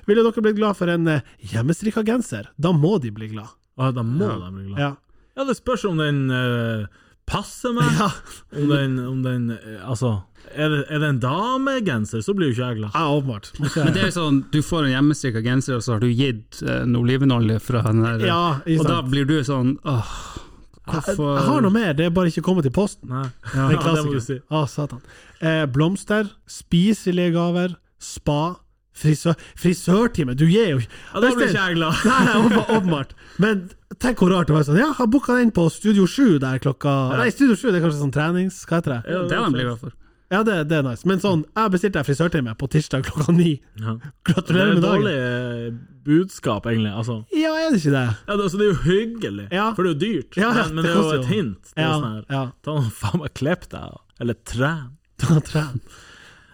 B: Ville dere blitt glad for en eh, hjemmestrikka genser? Da må de bli glad.
C: Å, da må de bli glad.
B: Ja.
C: Ja, det spørs om den eh, passer meg.
B: Ja.
C: Om den, om den eh, Altså, er det, er det en damegenser, så blir jo ikke jeg glad.
B: Ja,
C: <laughs>
B: åpenbart.
D: Men det er jo sånn, du får en hjemmestrikka genser, og så har du gitt eh, en olivenolje fra den her,
B: Ja, ikke
D: og da
B: sant.
D: blir du sånn åh,
B: Jeg
D: hvorfor
B: jeg har noe mer, det er bare ikke kommet i posten.
C: Nei.
B: Det er
C: Ja, det må du
B: klassiker.
C: si.
B: Å, satan. Eh, blomster, spiselige gaver, spa, frisør Frisørtime! Du gir jo
C: Ja, da blir ikke
B: <laughs>
C: jeg glad.
B: Nei, nei, åpenbart- åpenbart. Men tenk hvor rart det var sånn. Ja, har booka den på Studio 7 der klokka Nei, Studio 7 det er kanskje sånn trenings... Hva heter det?
C: <laughs> Ja,
D: Det har de blitt glad for.
B: Ja, det, det er nice. Men sånn, jeg bestilte deg frisørtime på tirsdag klokka ni.
C: Ja. Det er
B: Gratulerer
C: et
B: med
C: dårlig
B: dagen.
C: eh, budskap, egentlig. Altså.
B: Ja, er det ikke det?
C: Ja, det, altså, det er jo hyggelig,
B: Ja.
C: for det er jo dyrt,
B: Ja, ja,
C: men, men
B: det
C: det er jo
B: koster
C: et
B: jo.
C: hint. Det er
B: Ja,
C: sånn her,
B: ja.
C: Ta nå faen meg klipp deg, eller tren.
B: Tren.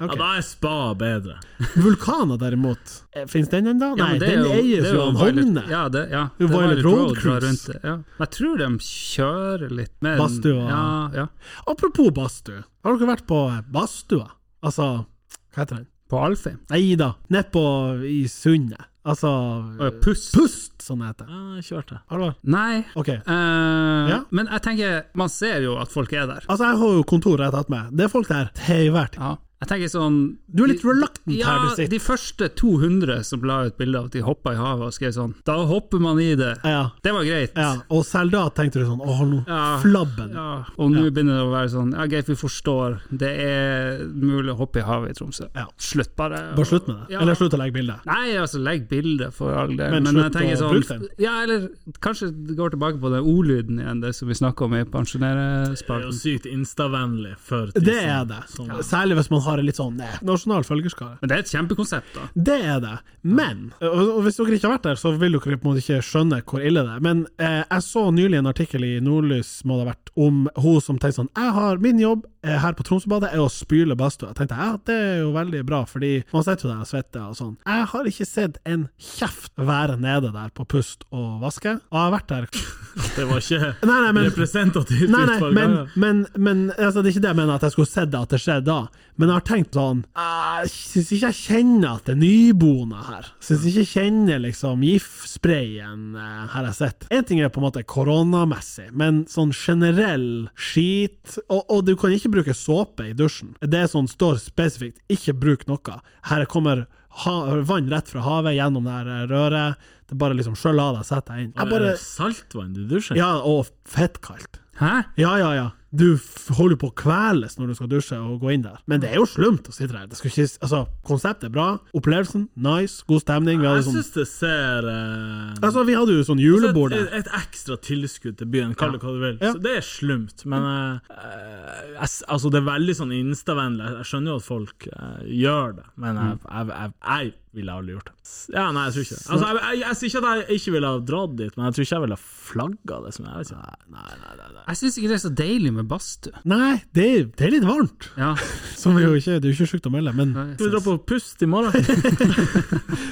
C: Ja,
B: Ok.
C: da er spa bedre.
B: Vulkaner derimot, Eh, finnes den ennå?
D: Ja,
B: Nei,
D: men det er
B: den eies
D: det er
B: jo av
D: Violet-
B: Hogne.
D: Ja, det, ja.
B: Jo,
D: det er
B: Violet Road
D: drar
B: Cruise.
D: rundt det, Ja. Jeg tror de kjører litt mer
B: Badstua.
D: Ja, ja.
B: Apropos badstue, har dere vært på eh, badstua? Altså, hva heter den?
D: På Alfheim.
B: Nei da, nedpå i sundet. Altså
D: Og Puss.
B: Pust, som det heter.
C: Ja, jeg kjørte.
B: Har du vært?
D: Nei.
B: Ok.
D: eh,
B: Ja.
D: Men jeg tenker, man ser jo at folk er der.
B: Altså, jeg har jo kontor rett attmed. Det er folk der til hver tid.
D: Ja. Jeg tenker sånn
B: Du er litt reluctant
D: ja,
B: her du sitter.
D: de første 200 som la ut bilde av at de hoppa i havet og skrev sånn Da hopper man i det.
B: Ja,
D: Det var greit.
B: ja. Og selv da tenkte du sånn Åh, nå
D: Ja.
B: flabben.
D: Ja, og nå begynner det å være sånn Ja, greit, vi forstår. Det er mulig å hoppe i havet i Tromsø.
B: Ja.
D: Slutt, bare.
B: Bare slutt med det.
D: Ja.
B: Eller slutt å legge bilde.
D: Nei, altså, legg bildet for all del.
B: Men
D: Men,
B: slutt
D: jeg tenker
B: å
D: sånn
B: bruke den.
D: Ja, eller kanskje det går tilbake på den ordlyden igjen, det som vi snakka om i
C: Det er jo
D: pensjonerspalten.
C: sykt instavennlig for de
B: Det
C: som-
B: er det.
C: som-
B: Særlig hvis man har en litt sånn eh, nasjonal følgerskare.
D: Men det er et kjempekonsept, da.
B: Det er det. Men og, og hvis dere ikke har vært der, så vil dere på en måte ikke skjønne hvor ille det er. Men eh, jeg så nylig en artikkel i Nordlys må det ha vært, om hun som tenkte sånn Jeg har min jobb eh, her på Tromsøbadet er å spyle badstua. Jeg tenkte ja, det er jo veldig bra, fordi man sitter jo der og svetter og sånn. Jeg har ikke sett en kjeft være nede der på pust og vaske. Og jeg har vært der <laughs>
C: Det var ikke
B: Nei, nei, men
C: representativt
B: Nei, nei,
C: utvalg.
B: men,
C: ja.
B: men, men altså, det er ikke det jeg mener at jeg skulle sett det at det skjedde da, men jeg har tenkt sånn Jeg syns ikke jeg kjenner at det er nyboende her. Syns ikke jeg kjenner liksom giftsprayen eh, her jeg sitter. Én ting er på en måte koronamessig, men sånn generell skit og, og du kan ikke bruke såpe i dusjen. Det er sånn står spesifikt 'ikke bruk noe'. Her kommer ha, vann rett fra havet gjennom det her eh, røret. Det er bare liksom skyll av deg, sett deg inn. Jeg bare,
C: Eh, Saltvann du dusjer?
B: ja, og fettkaldt.
D: Hæ?
B: Ja, ja, ja. Du f- holder på å kveles når du skal dusje og gå inn der. Men det er jo slumt å sitte der. Det skulle ikke, altså, konseptet er bra. Opplevelsen, nice. God stemning. Vi hadde,
C: Jeg
B: sånn,
C: syns det ser eh,
B: altså, vi hadde jo sånn julebord
C: et,
B: der.
C: et ekstra tilskudd til byen, kall det hva du vil.
B: Ja.
C: Så det er slumt, men eh, eh, jeg, s- altså det er veldig sånn instavennlig. Jeg, jeg skjønner jo at folk eh, gjør det, men jeg,
B: Mm.
C: jeg, jeg, jeg ville aldri gjort det. S- Ja, nei, jeg tror ikke det. Altså, jeg, jeg, jeg sier ikke at jeg ikke ville ha dratt dit, men jeg tror ikke jeg ville ha flagga det. Som jeg, vet ikke.
D: Jeg syns ikke det er så deilig med badstue.
B: Nei, det er, det er litt varmt.
D: Ja.
B: Som vi jo ikke, det er jo ikke sjukt å melde, men
C: Skal vi dra på pust i
B: <laughs>
C: morgen?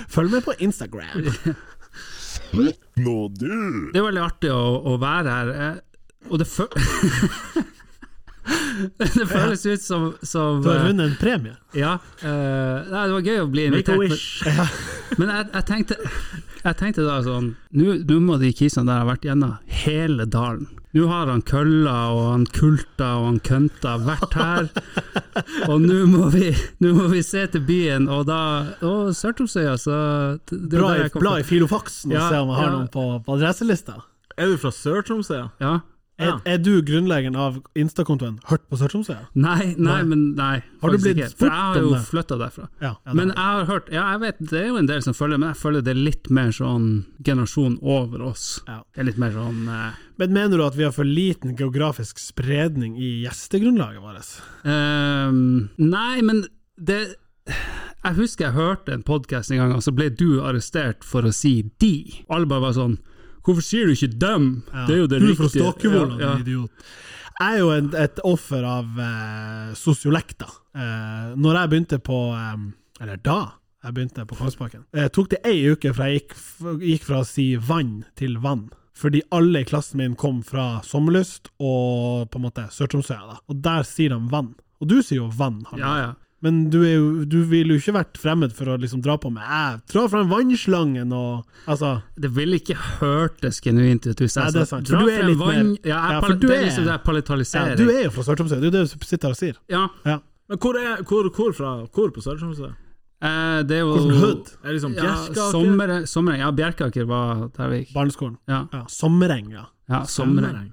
B: følg med på Instagram.
A: Nå du!
D: Det er veldig artig å, å være her, eh, og det fø... <laughs> det føles ut som, som
B: Du har
D: eh,
B: vunnet en premie.
D: Ja. eh, nei, det var gøy å bli
C: Make a
D: invitert. men-
C: wish.
D: Men jeg, jeg, tenkte, jeg tenkte da sånn Nå nå må de kisene der ha vært gjennom hele dalen. Nå har han kølla og han kulta og han kønta vært her, og nå må, vi- nå må vi se til byen, og da Og Sørtromsøya, så det- det er
B: Bla
D: der
B: i,
D: jeg kom
B: bla i
D: fra.
B: filofaksen og
D: Ja,
B: se om jeg har
D: ja.
B: noen på, på adresselista.
C: Er du fra Sør-Tromsø? ja?
D: Ja.
B: Er,
C: Ja.
B: er du grunnleggeren av Instakontoen Hørt på Sør-Tromsøya?
D: Nei, nei, men nei.
B: Har du
D: faktisk
B: blitt
D: ikke, for
B: spurt
D: Jeg har
B: om
D: jo
B: det?
D: flytta derfra.
B: Ja, ja, det
D: Men
B: har
D: jeg har hørt Ja, jeg vet det er jo en del som følger, men jeg føler det er litt mer sånn generasjon over oss.
B: Ja.
D: Det er litt mer sånn eh,
B: Men mener du at vi har for liten geografisk spredning i gjestegrunnlaget vårt?
D: Ehm, nei, men det Jeg husker jeg hørte en podkast en gang, og så ble du arrestert for å si de. Alle bare var sånn Hvorfor sier du ikke dem? Det er jo det
B: du er fra
D: riktige.
B: Stokkevollen,
D: Ja, ja.
B: idiot. Jeg er jo en, et offer av eh, sosiolekta. Eh, når jeg begynte på eh, Eller da jeg begynte på Kongsbakken, eh, tok det ei uke fra jeg gikk, f- gikk fra å si vann til vann. Fordi alle i klassen min kom fra Sommerlyst og på en måte Sør-Tromsøya, da. Og der sier de vann. Og du sier jo vann, Harald.
D: ja, ja.
B: Men du, er jo, du ville jo ikke vært fremmed for å liksom dra på med Jeg drar fram vannslangen og Altså,
D: Det ville ikke hørtes genuint ut hvis jeg
B: Nei, det er
D: sa,
B: sant, for du
D: Dra
B: er
D: frem
B: litt
D: vann
B: mer-
D: ja, jeg,
B: Ja, for
D: pal-
B: du
D: Det er
B: er-
D: liksom det
B: ja,
D: er palatalisering.
B: du er jo fra Sør-Tromsø, det er jo det du sitter her og sier.
D: Ja,
B: Ja.
C: Men hvor, er, hvor, hvor, fra, hvor på Sør-Tromsø?
D: eh, det er jo
B: Hvordan hood?
C: Er det liksom
D: Ja,
C: Bjerkaker?
D: sommer, sommereng. Ja, Bjerkaker var der vi gikk.
B: Barneskolen.
D: Ja,
B: Ja, sommereng, ja.
D: ja sommereng.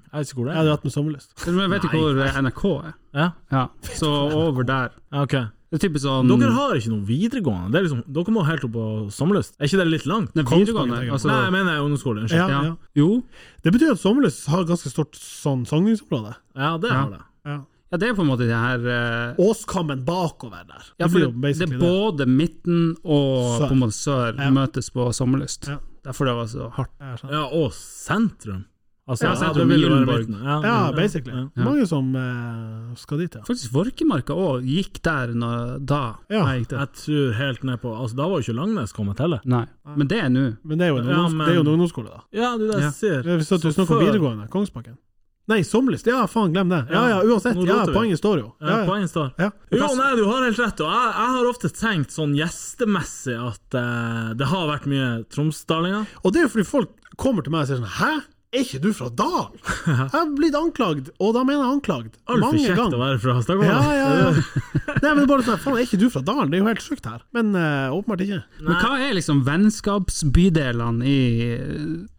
C: Sommereng? Jeg vet ikke hvor
B: Jeg
C: det
B: hadde
C: er.
B: hatt med sommerlyst.
D: Men vet du
C: Nei.
D: hvor eh, NRK er?
C: Ja,
D: Ja, så over der.
C: ok.
D: Det er typisk sånn
C: Dere har ikke noe videregående. Det er liksom, dere må helt opp på sommerlyst. Er ikke det litt langt?
D: Nei, videregående,
B: Kongsberg,
D: altså,
C: Nei, jeg mener ungdomsskole. Unnskyld.
B: Ja,
C: Ja.
D: ja.
B: ja.
D: Jo,
B: Det betyr at sommerlyst har ganske stort sånn sogningsområde.
C: det har det.
B: Ja.
D: ja, det er på en måte det her eh,
B: Åskammen bakover der.
D: ja,
B: det
D: for
B: blir jo
D: det, det
B: basically
D: er
B: det.
D: både midten og
B: Sør.
D: på en måte sør
B: Ja.
D: møtes på sommerlyst.
B: Ja.
D: Derfor det var så hardt.
B: Ja, sånn.
C: Ja, og sentrum. Altså,
D: Ja,
C: ja, det
D: sentrum,
C: vil jo være
D: Gyllenborg.
C: midten. Ja,
B: ja,
C: ja.
B: basically.
C: Ja.
B: Mange som eh, skal dit, ja.
D: Faktisk Vorkemarka òg gikk der når, da
B: Ja.
D: jeg gikk der.
C: Jeg tror helt ned på Altså, da var jo ikke Langnes kommet heller.
D: Nei, men det er nå.
B: Men det er jo en,
C: Ja,
B: ungdoms
C: men-
B: det er jo en ungdomsskole, da.
C: Ja, det er det
D: Ja.
C: jeg ser.
B: Hvis at du
C: Så
B: snakker om
C: før-
B: videregående, Kongsbakken. Nei, sommerlyst! Ja, faen, glem det. Ja ja, uansett.
C: Nå
B: Ja,
C: roter vi.
B: poenget står jo.
C: Ja,
B: Ja, ja.
C: Poenget står.
B: Ja.
C: Jo, nei, du har helt rett. Og jeg, jeg har ofte tenkt sånn gjestemessig at eh, det har vært mye tromsdalinger.
B: Og det er jo fordi folk kommer til meg og sier sånn Hæ? Er ikke du fra Dal? Jeg har blitt anklagd, og da mener jeg anklagd.
C: Altfor
B: mange
C: kjekt
B: ganger.
C: å være fra Stavanger.
B: Ja, ja, ja. Nei, men bare sånn, faen, er ikke du fra Dalen? Det er jo helt sjukt her. Men eh, åpenbart ikke.
D: Men hva er liksom vennskapsbydelene i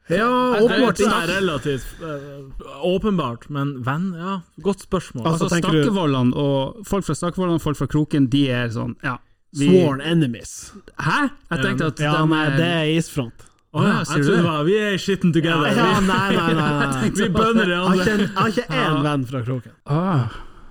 D: eh, altså,
B: Ja,
C: Åpenbart
B: åpenbart
C: det
B: ikke.
C: er relativt eh, åpenbart, men venn, ja, godt spørsmål.
B: Altså,
D: Altså
B: tenker du-
D: Stakkevollan og folk fra Stakkevollan og folk fra Kroken, de er sånn ja vi-
B: Sworn enemies.
D: Hæ? Jeg tenkte at
B: Ja,
D: de
B: nei,
D: er-
B: det er isfront.
C: Å ja,
D: Ja, sier
C: jeg
D: du
C: trodde
D: det?
C: det var Vi er i skitten together.
B: Ja, nei, nei, nei. nei.
C: Vi, vi bønder i
B: Jeg har ikke
C: andre.
B: en- jeg har ikke én venn fra Kroken.
D: ah.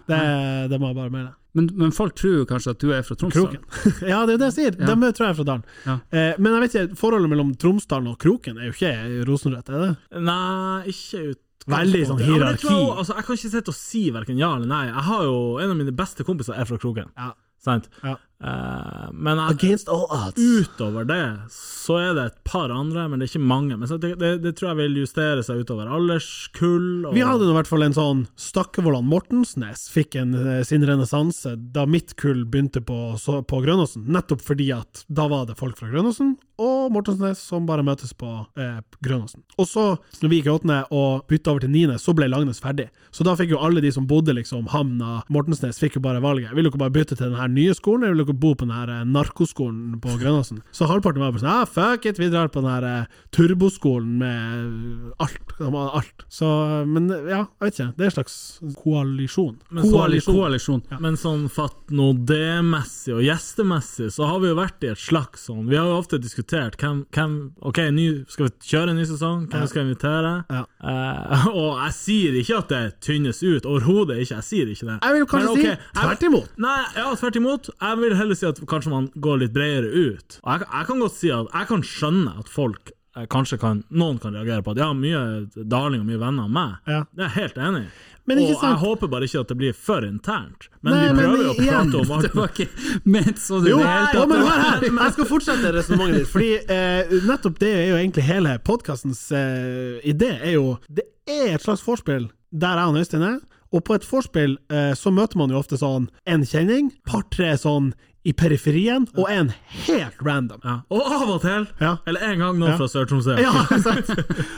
B: Det, det må jeg bare mene.
D: Men, men folk tror jo kanskje at du er fra Tromsø.
B: Kroken. <laughs> Ja, det er jo det jeg sier.
D: Ja.
B: De tror jeg er fra Dalen.
D: Ja.
B: Eh, men jeg vet ikke, forholdet mellom Tromsdalen og Kroken er jo ikke rosenrødt, er det?
C: Nei, ikke ut
B: Veldig sånn
C: Ja, men det tror jeg
B: hierarki.
C: også. altså, jeg kan ikke sitte og si hverken ja eller nei. Jeg har jo En av mine beste kompiser er fra Kroken.
B: Ja.
C: Sant?
B: Ja.
C: Eh, men jeg,
B: Against all odds.
C: utover det så er det et par andre, men det er ikke mange. Men så det, det, det tror jeg vil justere seg utover alderskull. Og,
B: Vi hadde nå i hvert fall en sånn Stakkevollan Mortensnes fikk en, eh, sin renessanse da mitt kull begynte på, så, på Grønåsen, nettopp fordi at da var det folk fra Grønåsen og Mortensnes som bare møtes på eh, Grønåsen. Og så, når vi gikk i åttende og bytta over til niende, så ble Langnes ferdig. Så da fikk jo alle de som bodde liksom Hamna, Mortensnes, fikk jo bare valget. Vil dere bare bytte til den her nye skolen, eller vil dere bo på den her eh, narkoskolen på Grønåsen? Så halvparten var bare sånn ah, fuck it, vi drar på den her eh, turboskolen med eh, alt. De har alt. Så, eh, men ja, jeg vet ikke. Det er en slags koalisjon.
C: Men så-
B: Koalisjon.
D: Koalisjon.
C: Men sånn fatt nå det-messig og gjestemessig, så har vi jo vært i et slags sånn Vi har jo ofte diskutert hvem, hvem OK, ny, skal vi kjøre en ny sesong? Hvem skal vi invitere?
B: Ja.
C: Eh, <laughs> og jeg sier ikke at det tynnes ut, overhodet ikke. Jeg sier ikke det.
B: Jeg vil kanskje
C: Men ok,
B: si tvert imot.
C: Nei, ja, tvert imot. Jeg vil heller si at kanskje man går litt bredere ut. Og jeg, jeg kan godt si at jeg kan skjønne at folk eh, Kanskje kan, noen kan reagere på at ja, mye darling og mye venner av meg.
B: Ja.
C: Det er jeg helt enig i.
B: Men ikke
C: og
B: sant?
C: jeg håper bare ikke at det blir for internt. Men
B: Nei,
C: vi
B: men
C: prøver jo å
B: igjen,
C: prate
B: <laughs>
C: om
D: <laughs> Det
C: alt.
D: var ikke ment sånn i
B: Jo,
D: det hele
B: ja,
D: tatt.
B: men hør her! Jeg skal fortsette resonnementet ditt. Fordi eh, nettopp det er jo egentlig hele podkastens eh, idé. Er jo, det er et slags vorspiel der jeg og Øystein er. Og på et vorspiel eh, så møter man jo ofte sånn en kjenning, par-tre sånn i periferien, og en helt random.
C: Ja. Og av og til,
B: Ja.
C: eller en gang nå
B: Ja.
C: fra Sør-Tromsø.
B: Ja, <laughs> sant.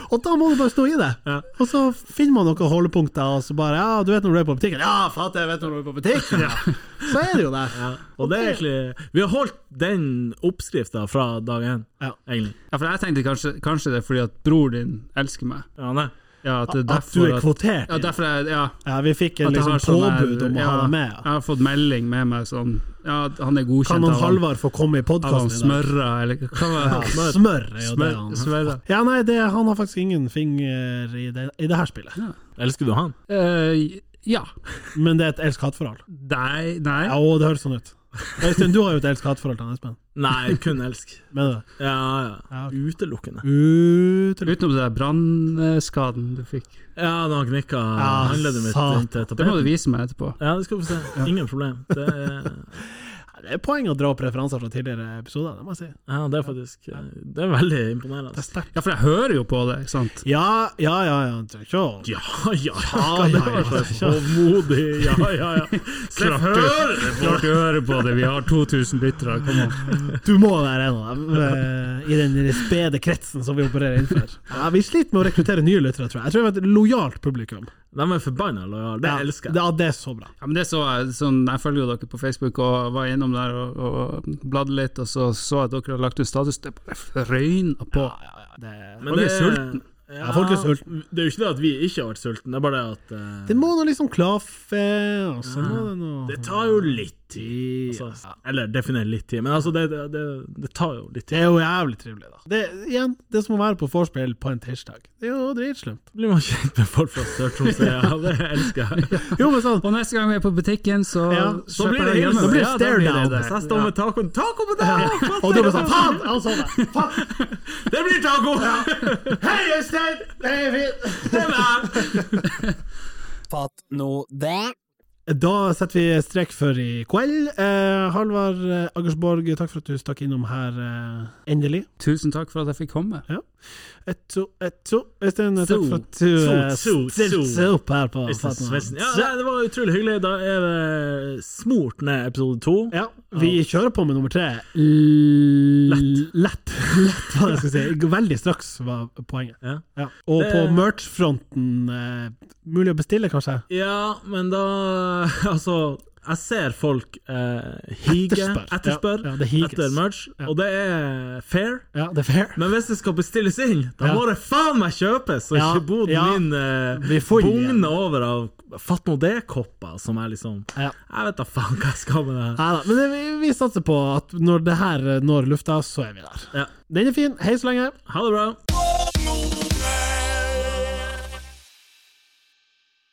B: Og da må du bare stå i det.
C: Ja.
B: Og så finner man noen holdepunkter, og så bare Ja, du vet når du er på butikken? Ja, fatter, jeg vet når du er på butikken! Ja. Så er det jo der.
C: Ja. Og det er egentlig Vi har holdt den oppskrifta fra dag én,
B: Ja.
C: egentlig.
D: Ja, for jeg tenkte kanskje, kanskje det er fordi at bror din elsker meg.
C: Ja, nei.
D: Ja, at, det er
B: At du
D: derfor
B: er kvotert.
D: Ja, derfor jeg, ja,
B: Ja, vi fikk en
D: at jeg
B: liksom
D: har sånn her-
B: påbud om å ha
D: ja,
B: deg med.
D: Jeg har fått melding med meg sånn Ja, han er godkjent
B: Kan han
D: av han-
B: Halvard få komme i
D: av han
B: podkasten i dag?
D: smørra, eller hva var det?
B: Ja, smør er jo det
D: Smør-
B: han
D: smørra.
B: Ja, nei, det, han har faktisk ingen finger i det, i det her spillet.
C: Elsker du han?
D: Eh, ja.
B: Men det er et elsk-hat-forhold.
D: Nei, nei.
B: Ja, å, det høres sånn ut. Øystein, du har jo et elsk-hat-forhold til han, Espen.
C: Nei, kun elsk.
B: Mener du det?
C: Ja, ja.
B: <laughs> Ja, ok.
C: Utelukkende.
B: Utelukkende.
D: Utenom det der brannskaden du fikk.
C: Ja, da knikka
B: Ja,
C: håndleddet mitt
B: satan.
C: inntil
D: Det må du
C: tapeten.
D: vise meg etterpå.
C: Ja, det skal vi se. Ingen problem. Det er,
B: Det er poeng å dra opp referanser fra tidligere episoder, det må jeg si.
C: ja, det er faktisk eh, Det er veldig imponerende.
D: Ja, for jeg hører jo på det, ikke sant?
B: Ja, ja, ja. ja. Det er ikke å-
C: Ja, ja,
B: Ja, ja, ja.
C: Hovmodig, ja, ja, ja. Slipp hør!
D: Klart du hører på det, vi har 2000 lyttere, kom an.
B: Du må være en av dem, eh, i den spede kretsen som vi opererer
D: <laughs>
B: innenfor. Ja, vi sliter med å rekruttere nye lyttere, tror jeg. Jeg tror vi har et lojalt publikum.
C: De er forbanna lojale. Det
B: Ja,
C: elsker jeg.
B: Ja, det er så bra.
D: Ja, men det så jeg, sånn, jeg følger jo dere på Facebook og var innom der og, og bladde litt, og så så jeg at dere hadde lagt ut status. Det bare røyna på.
B: Ja, ja, ja, det,
C: Men
D: folk er
C: det-
D: sulten.
C: Ja,
B: Ja, folk er sulten.
C: Det er jo ikke det at vi ikke har vært sultne, det er bare det at eh,
B: det må nå liksom klaffe, og så må det nå
C: Mm. det tar jo litt tid. Altså, eller definer litt tid, men altså, det, det, det, det tar jo litt tid.
B: Det er jo jævlig trivelig, da. Det, igjen, det er som å være på vorspiel på en tirsdag. Det er jo
C: <laughs>
B: dritslumt.
C: Blir man kjent med folk fra Sør-Tromsø, ja, det elsker jeg.
B: Jo, men
C: <laughs>
B: sånn
D: Og neste gang vi er på butikken, så
B: Ja,
C: Så blir det
D: kjøper jeg
C: hilsen.
D: hjemme.
B: Da blir det
D: Ja,
B: stare down.
D: det.
C: Hvis jeg står med tacoen Taco på deg!
B: Og du blir sånn Faen! Han så
C: <laughs>
B: det! Faen!
C: Det blir taco!
B: Hei, Øystein! Det er fint!
C: Det er meg!
A: Fatt nå det.
B: Da setter vi strek for i kveld. Eh, Halvard eh, Aggersborg, takk for at du stakk innom her eh, endelig.
D: Tusen takk for at jeg fikk komme.
B: Etto, etto. Øystein,
D: So.
B: takk for at du eh,
C: So, so,
B: stilte
C: so.
B: opp her på
C: Øystein
B: Fatman.
C: Svendsen. Ja, nei, det var utrolig hyggelig. Da er det smurt ned episode to.
B: Ja, vi kjører på med nummer tre. Lett. Lett, <laughs> Lett hva jeg skal si. Veldig straks var poenget.
C: Ja.
B: Ja. Og
C: Det-
B: på merch-fronten, eh, mulig å bestille, kanskje?
C: Ja, men da <laughs> Altså, jeg ser folk eh, hige,
B: Etterspør.
C: etterspør,
B: Ja, ja, det higes.
C: etter merch,
B: Ja.
C: og det er fair.
B: Ja, det er fair.
C: Men hvis det skal bestilles inn, da
B: Ja.
C: må det faen meg kjøpes, og
B: Ja,
C: ikke boden
B: ja.
C: min eh,
B: Vi får gi igjen.
C: bugner over av fatt nå det-kopper, som er liksom
B: Ja.
C: Jeg vet da faen hva jeg skal med det her.
B: Neida, Men det, vi, vi satser på at eh, når det her når lufta, så er vi der.
C: Ja.
B: Den er fin. Hei så lenge.
C: Ha det bra.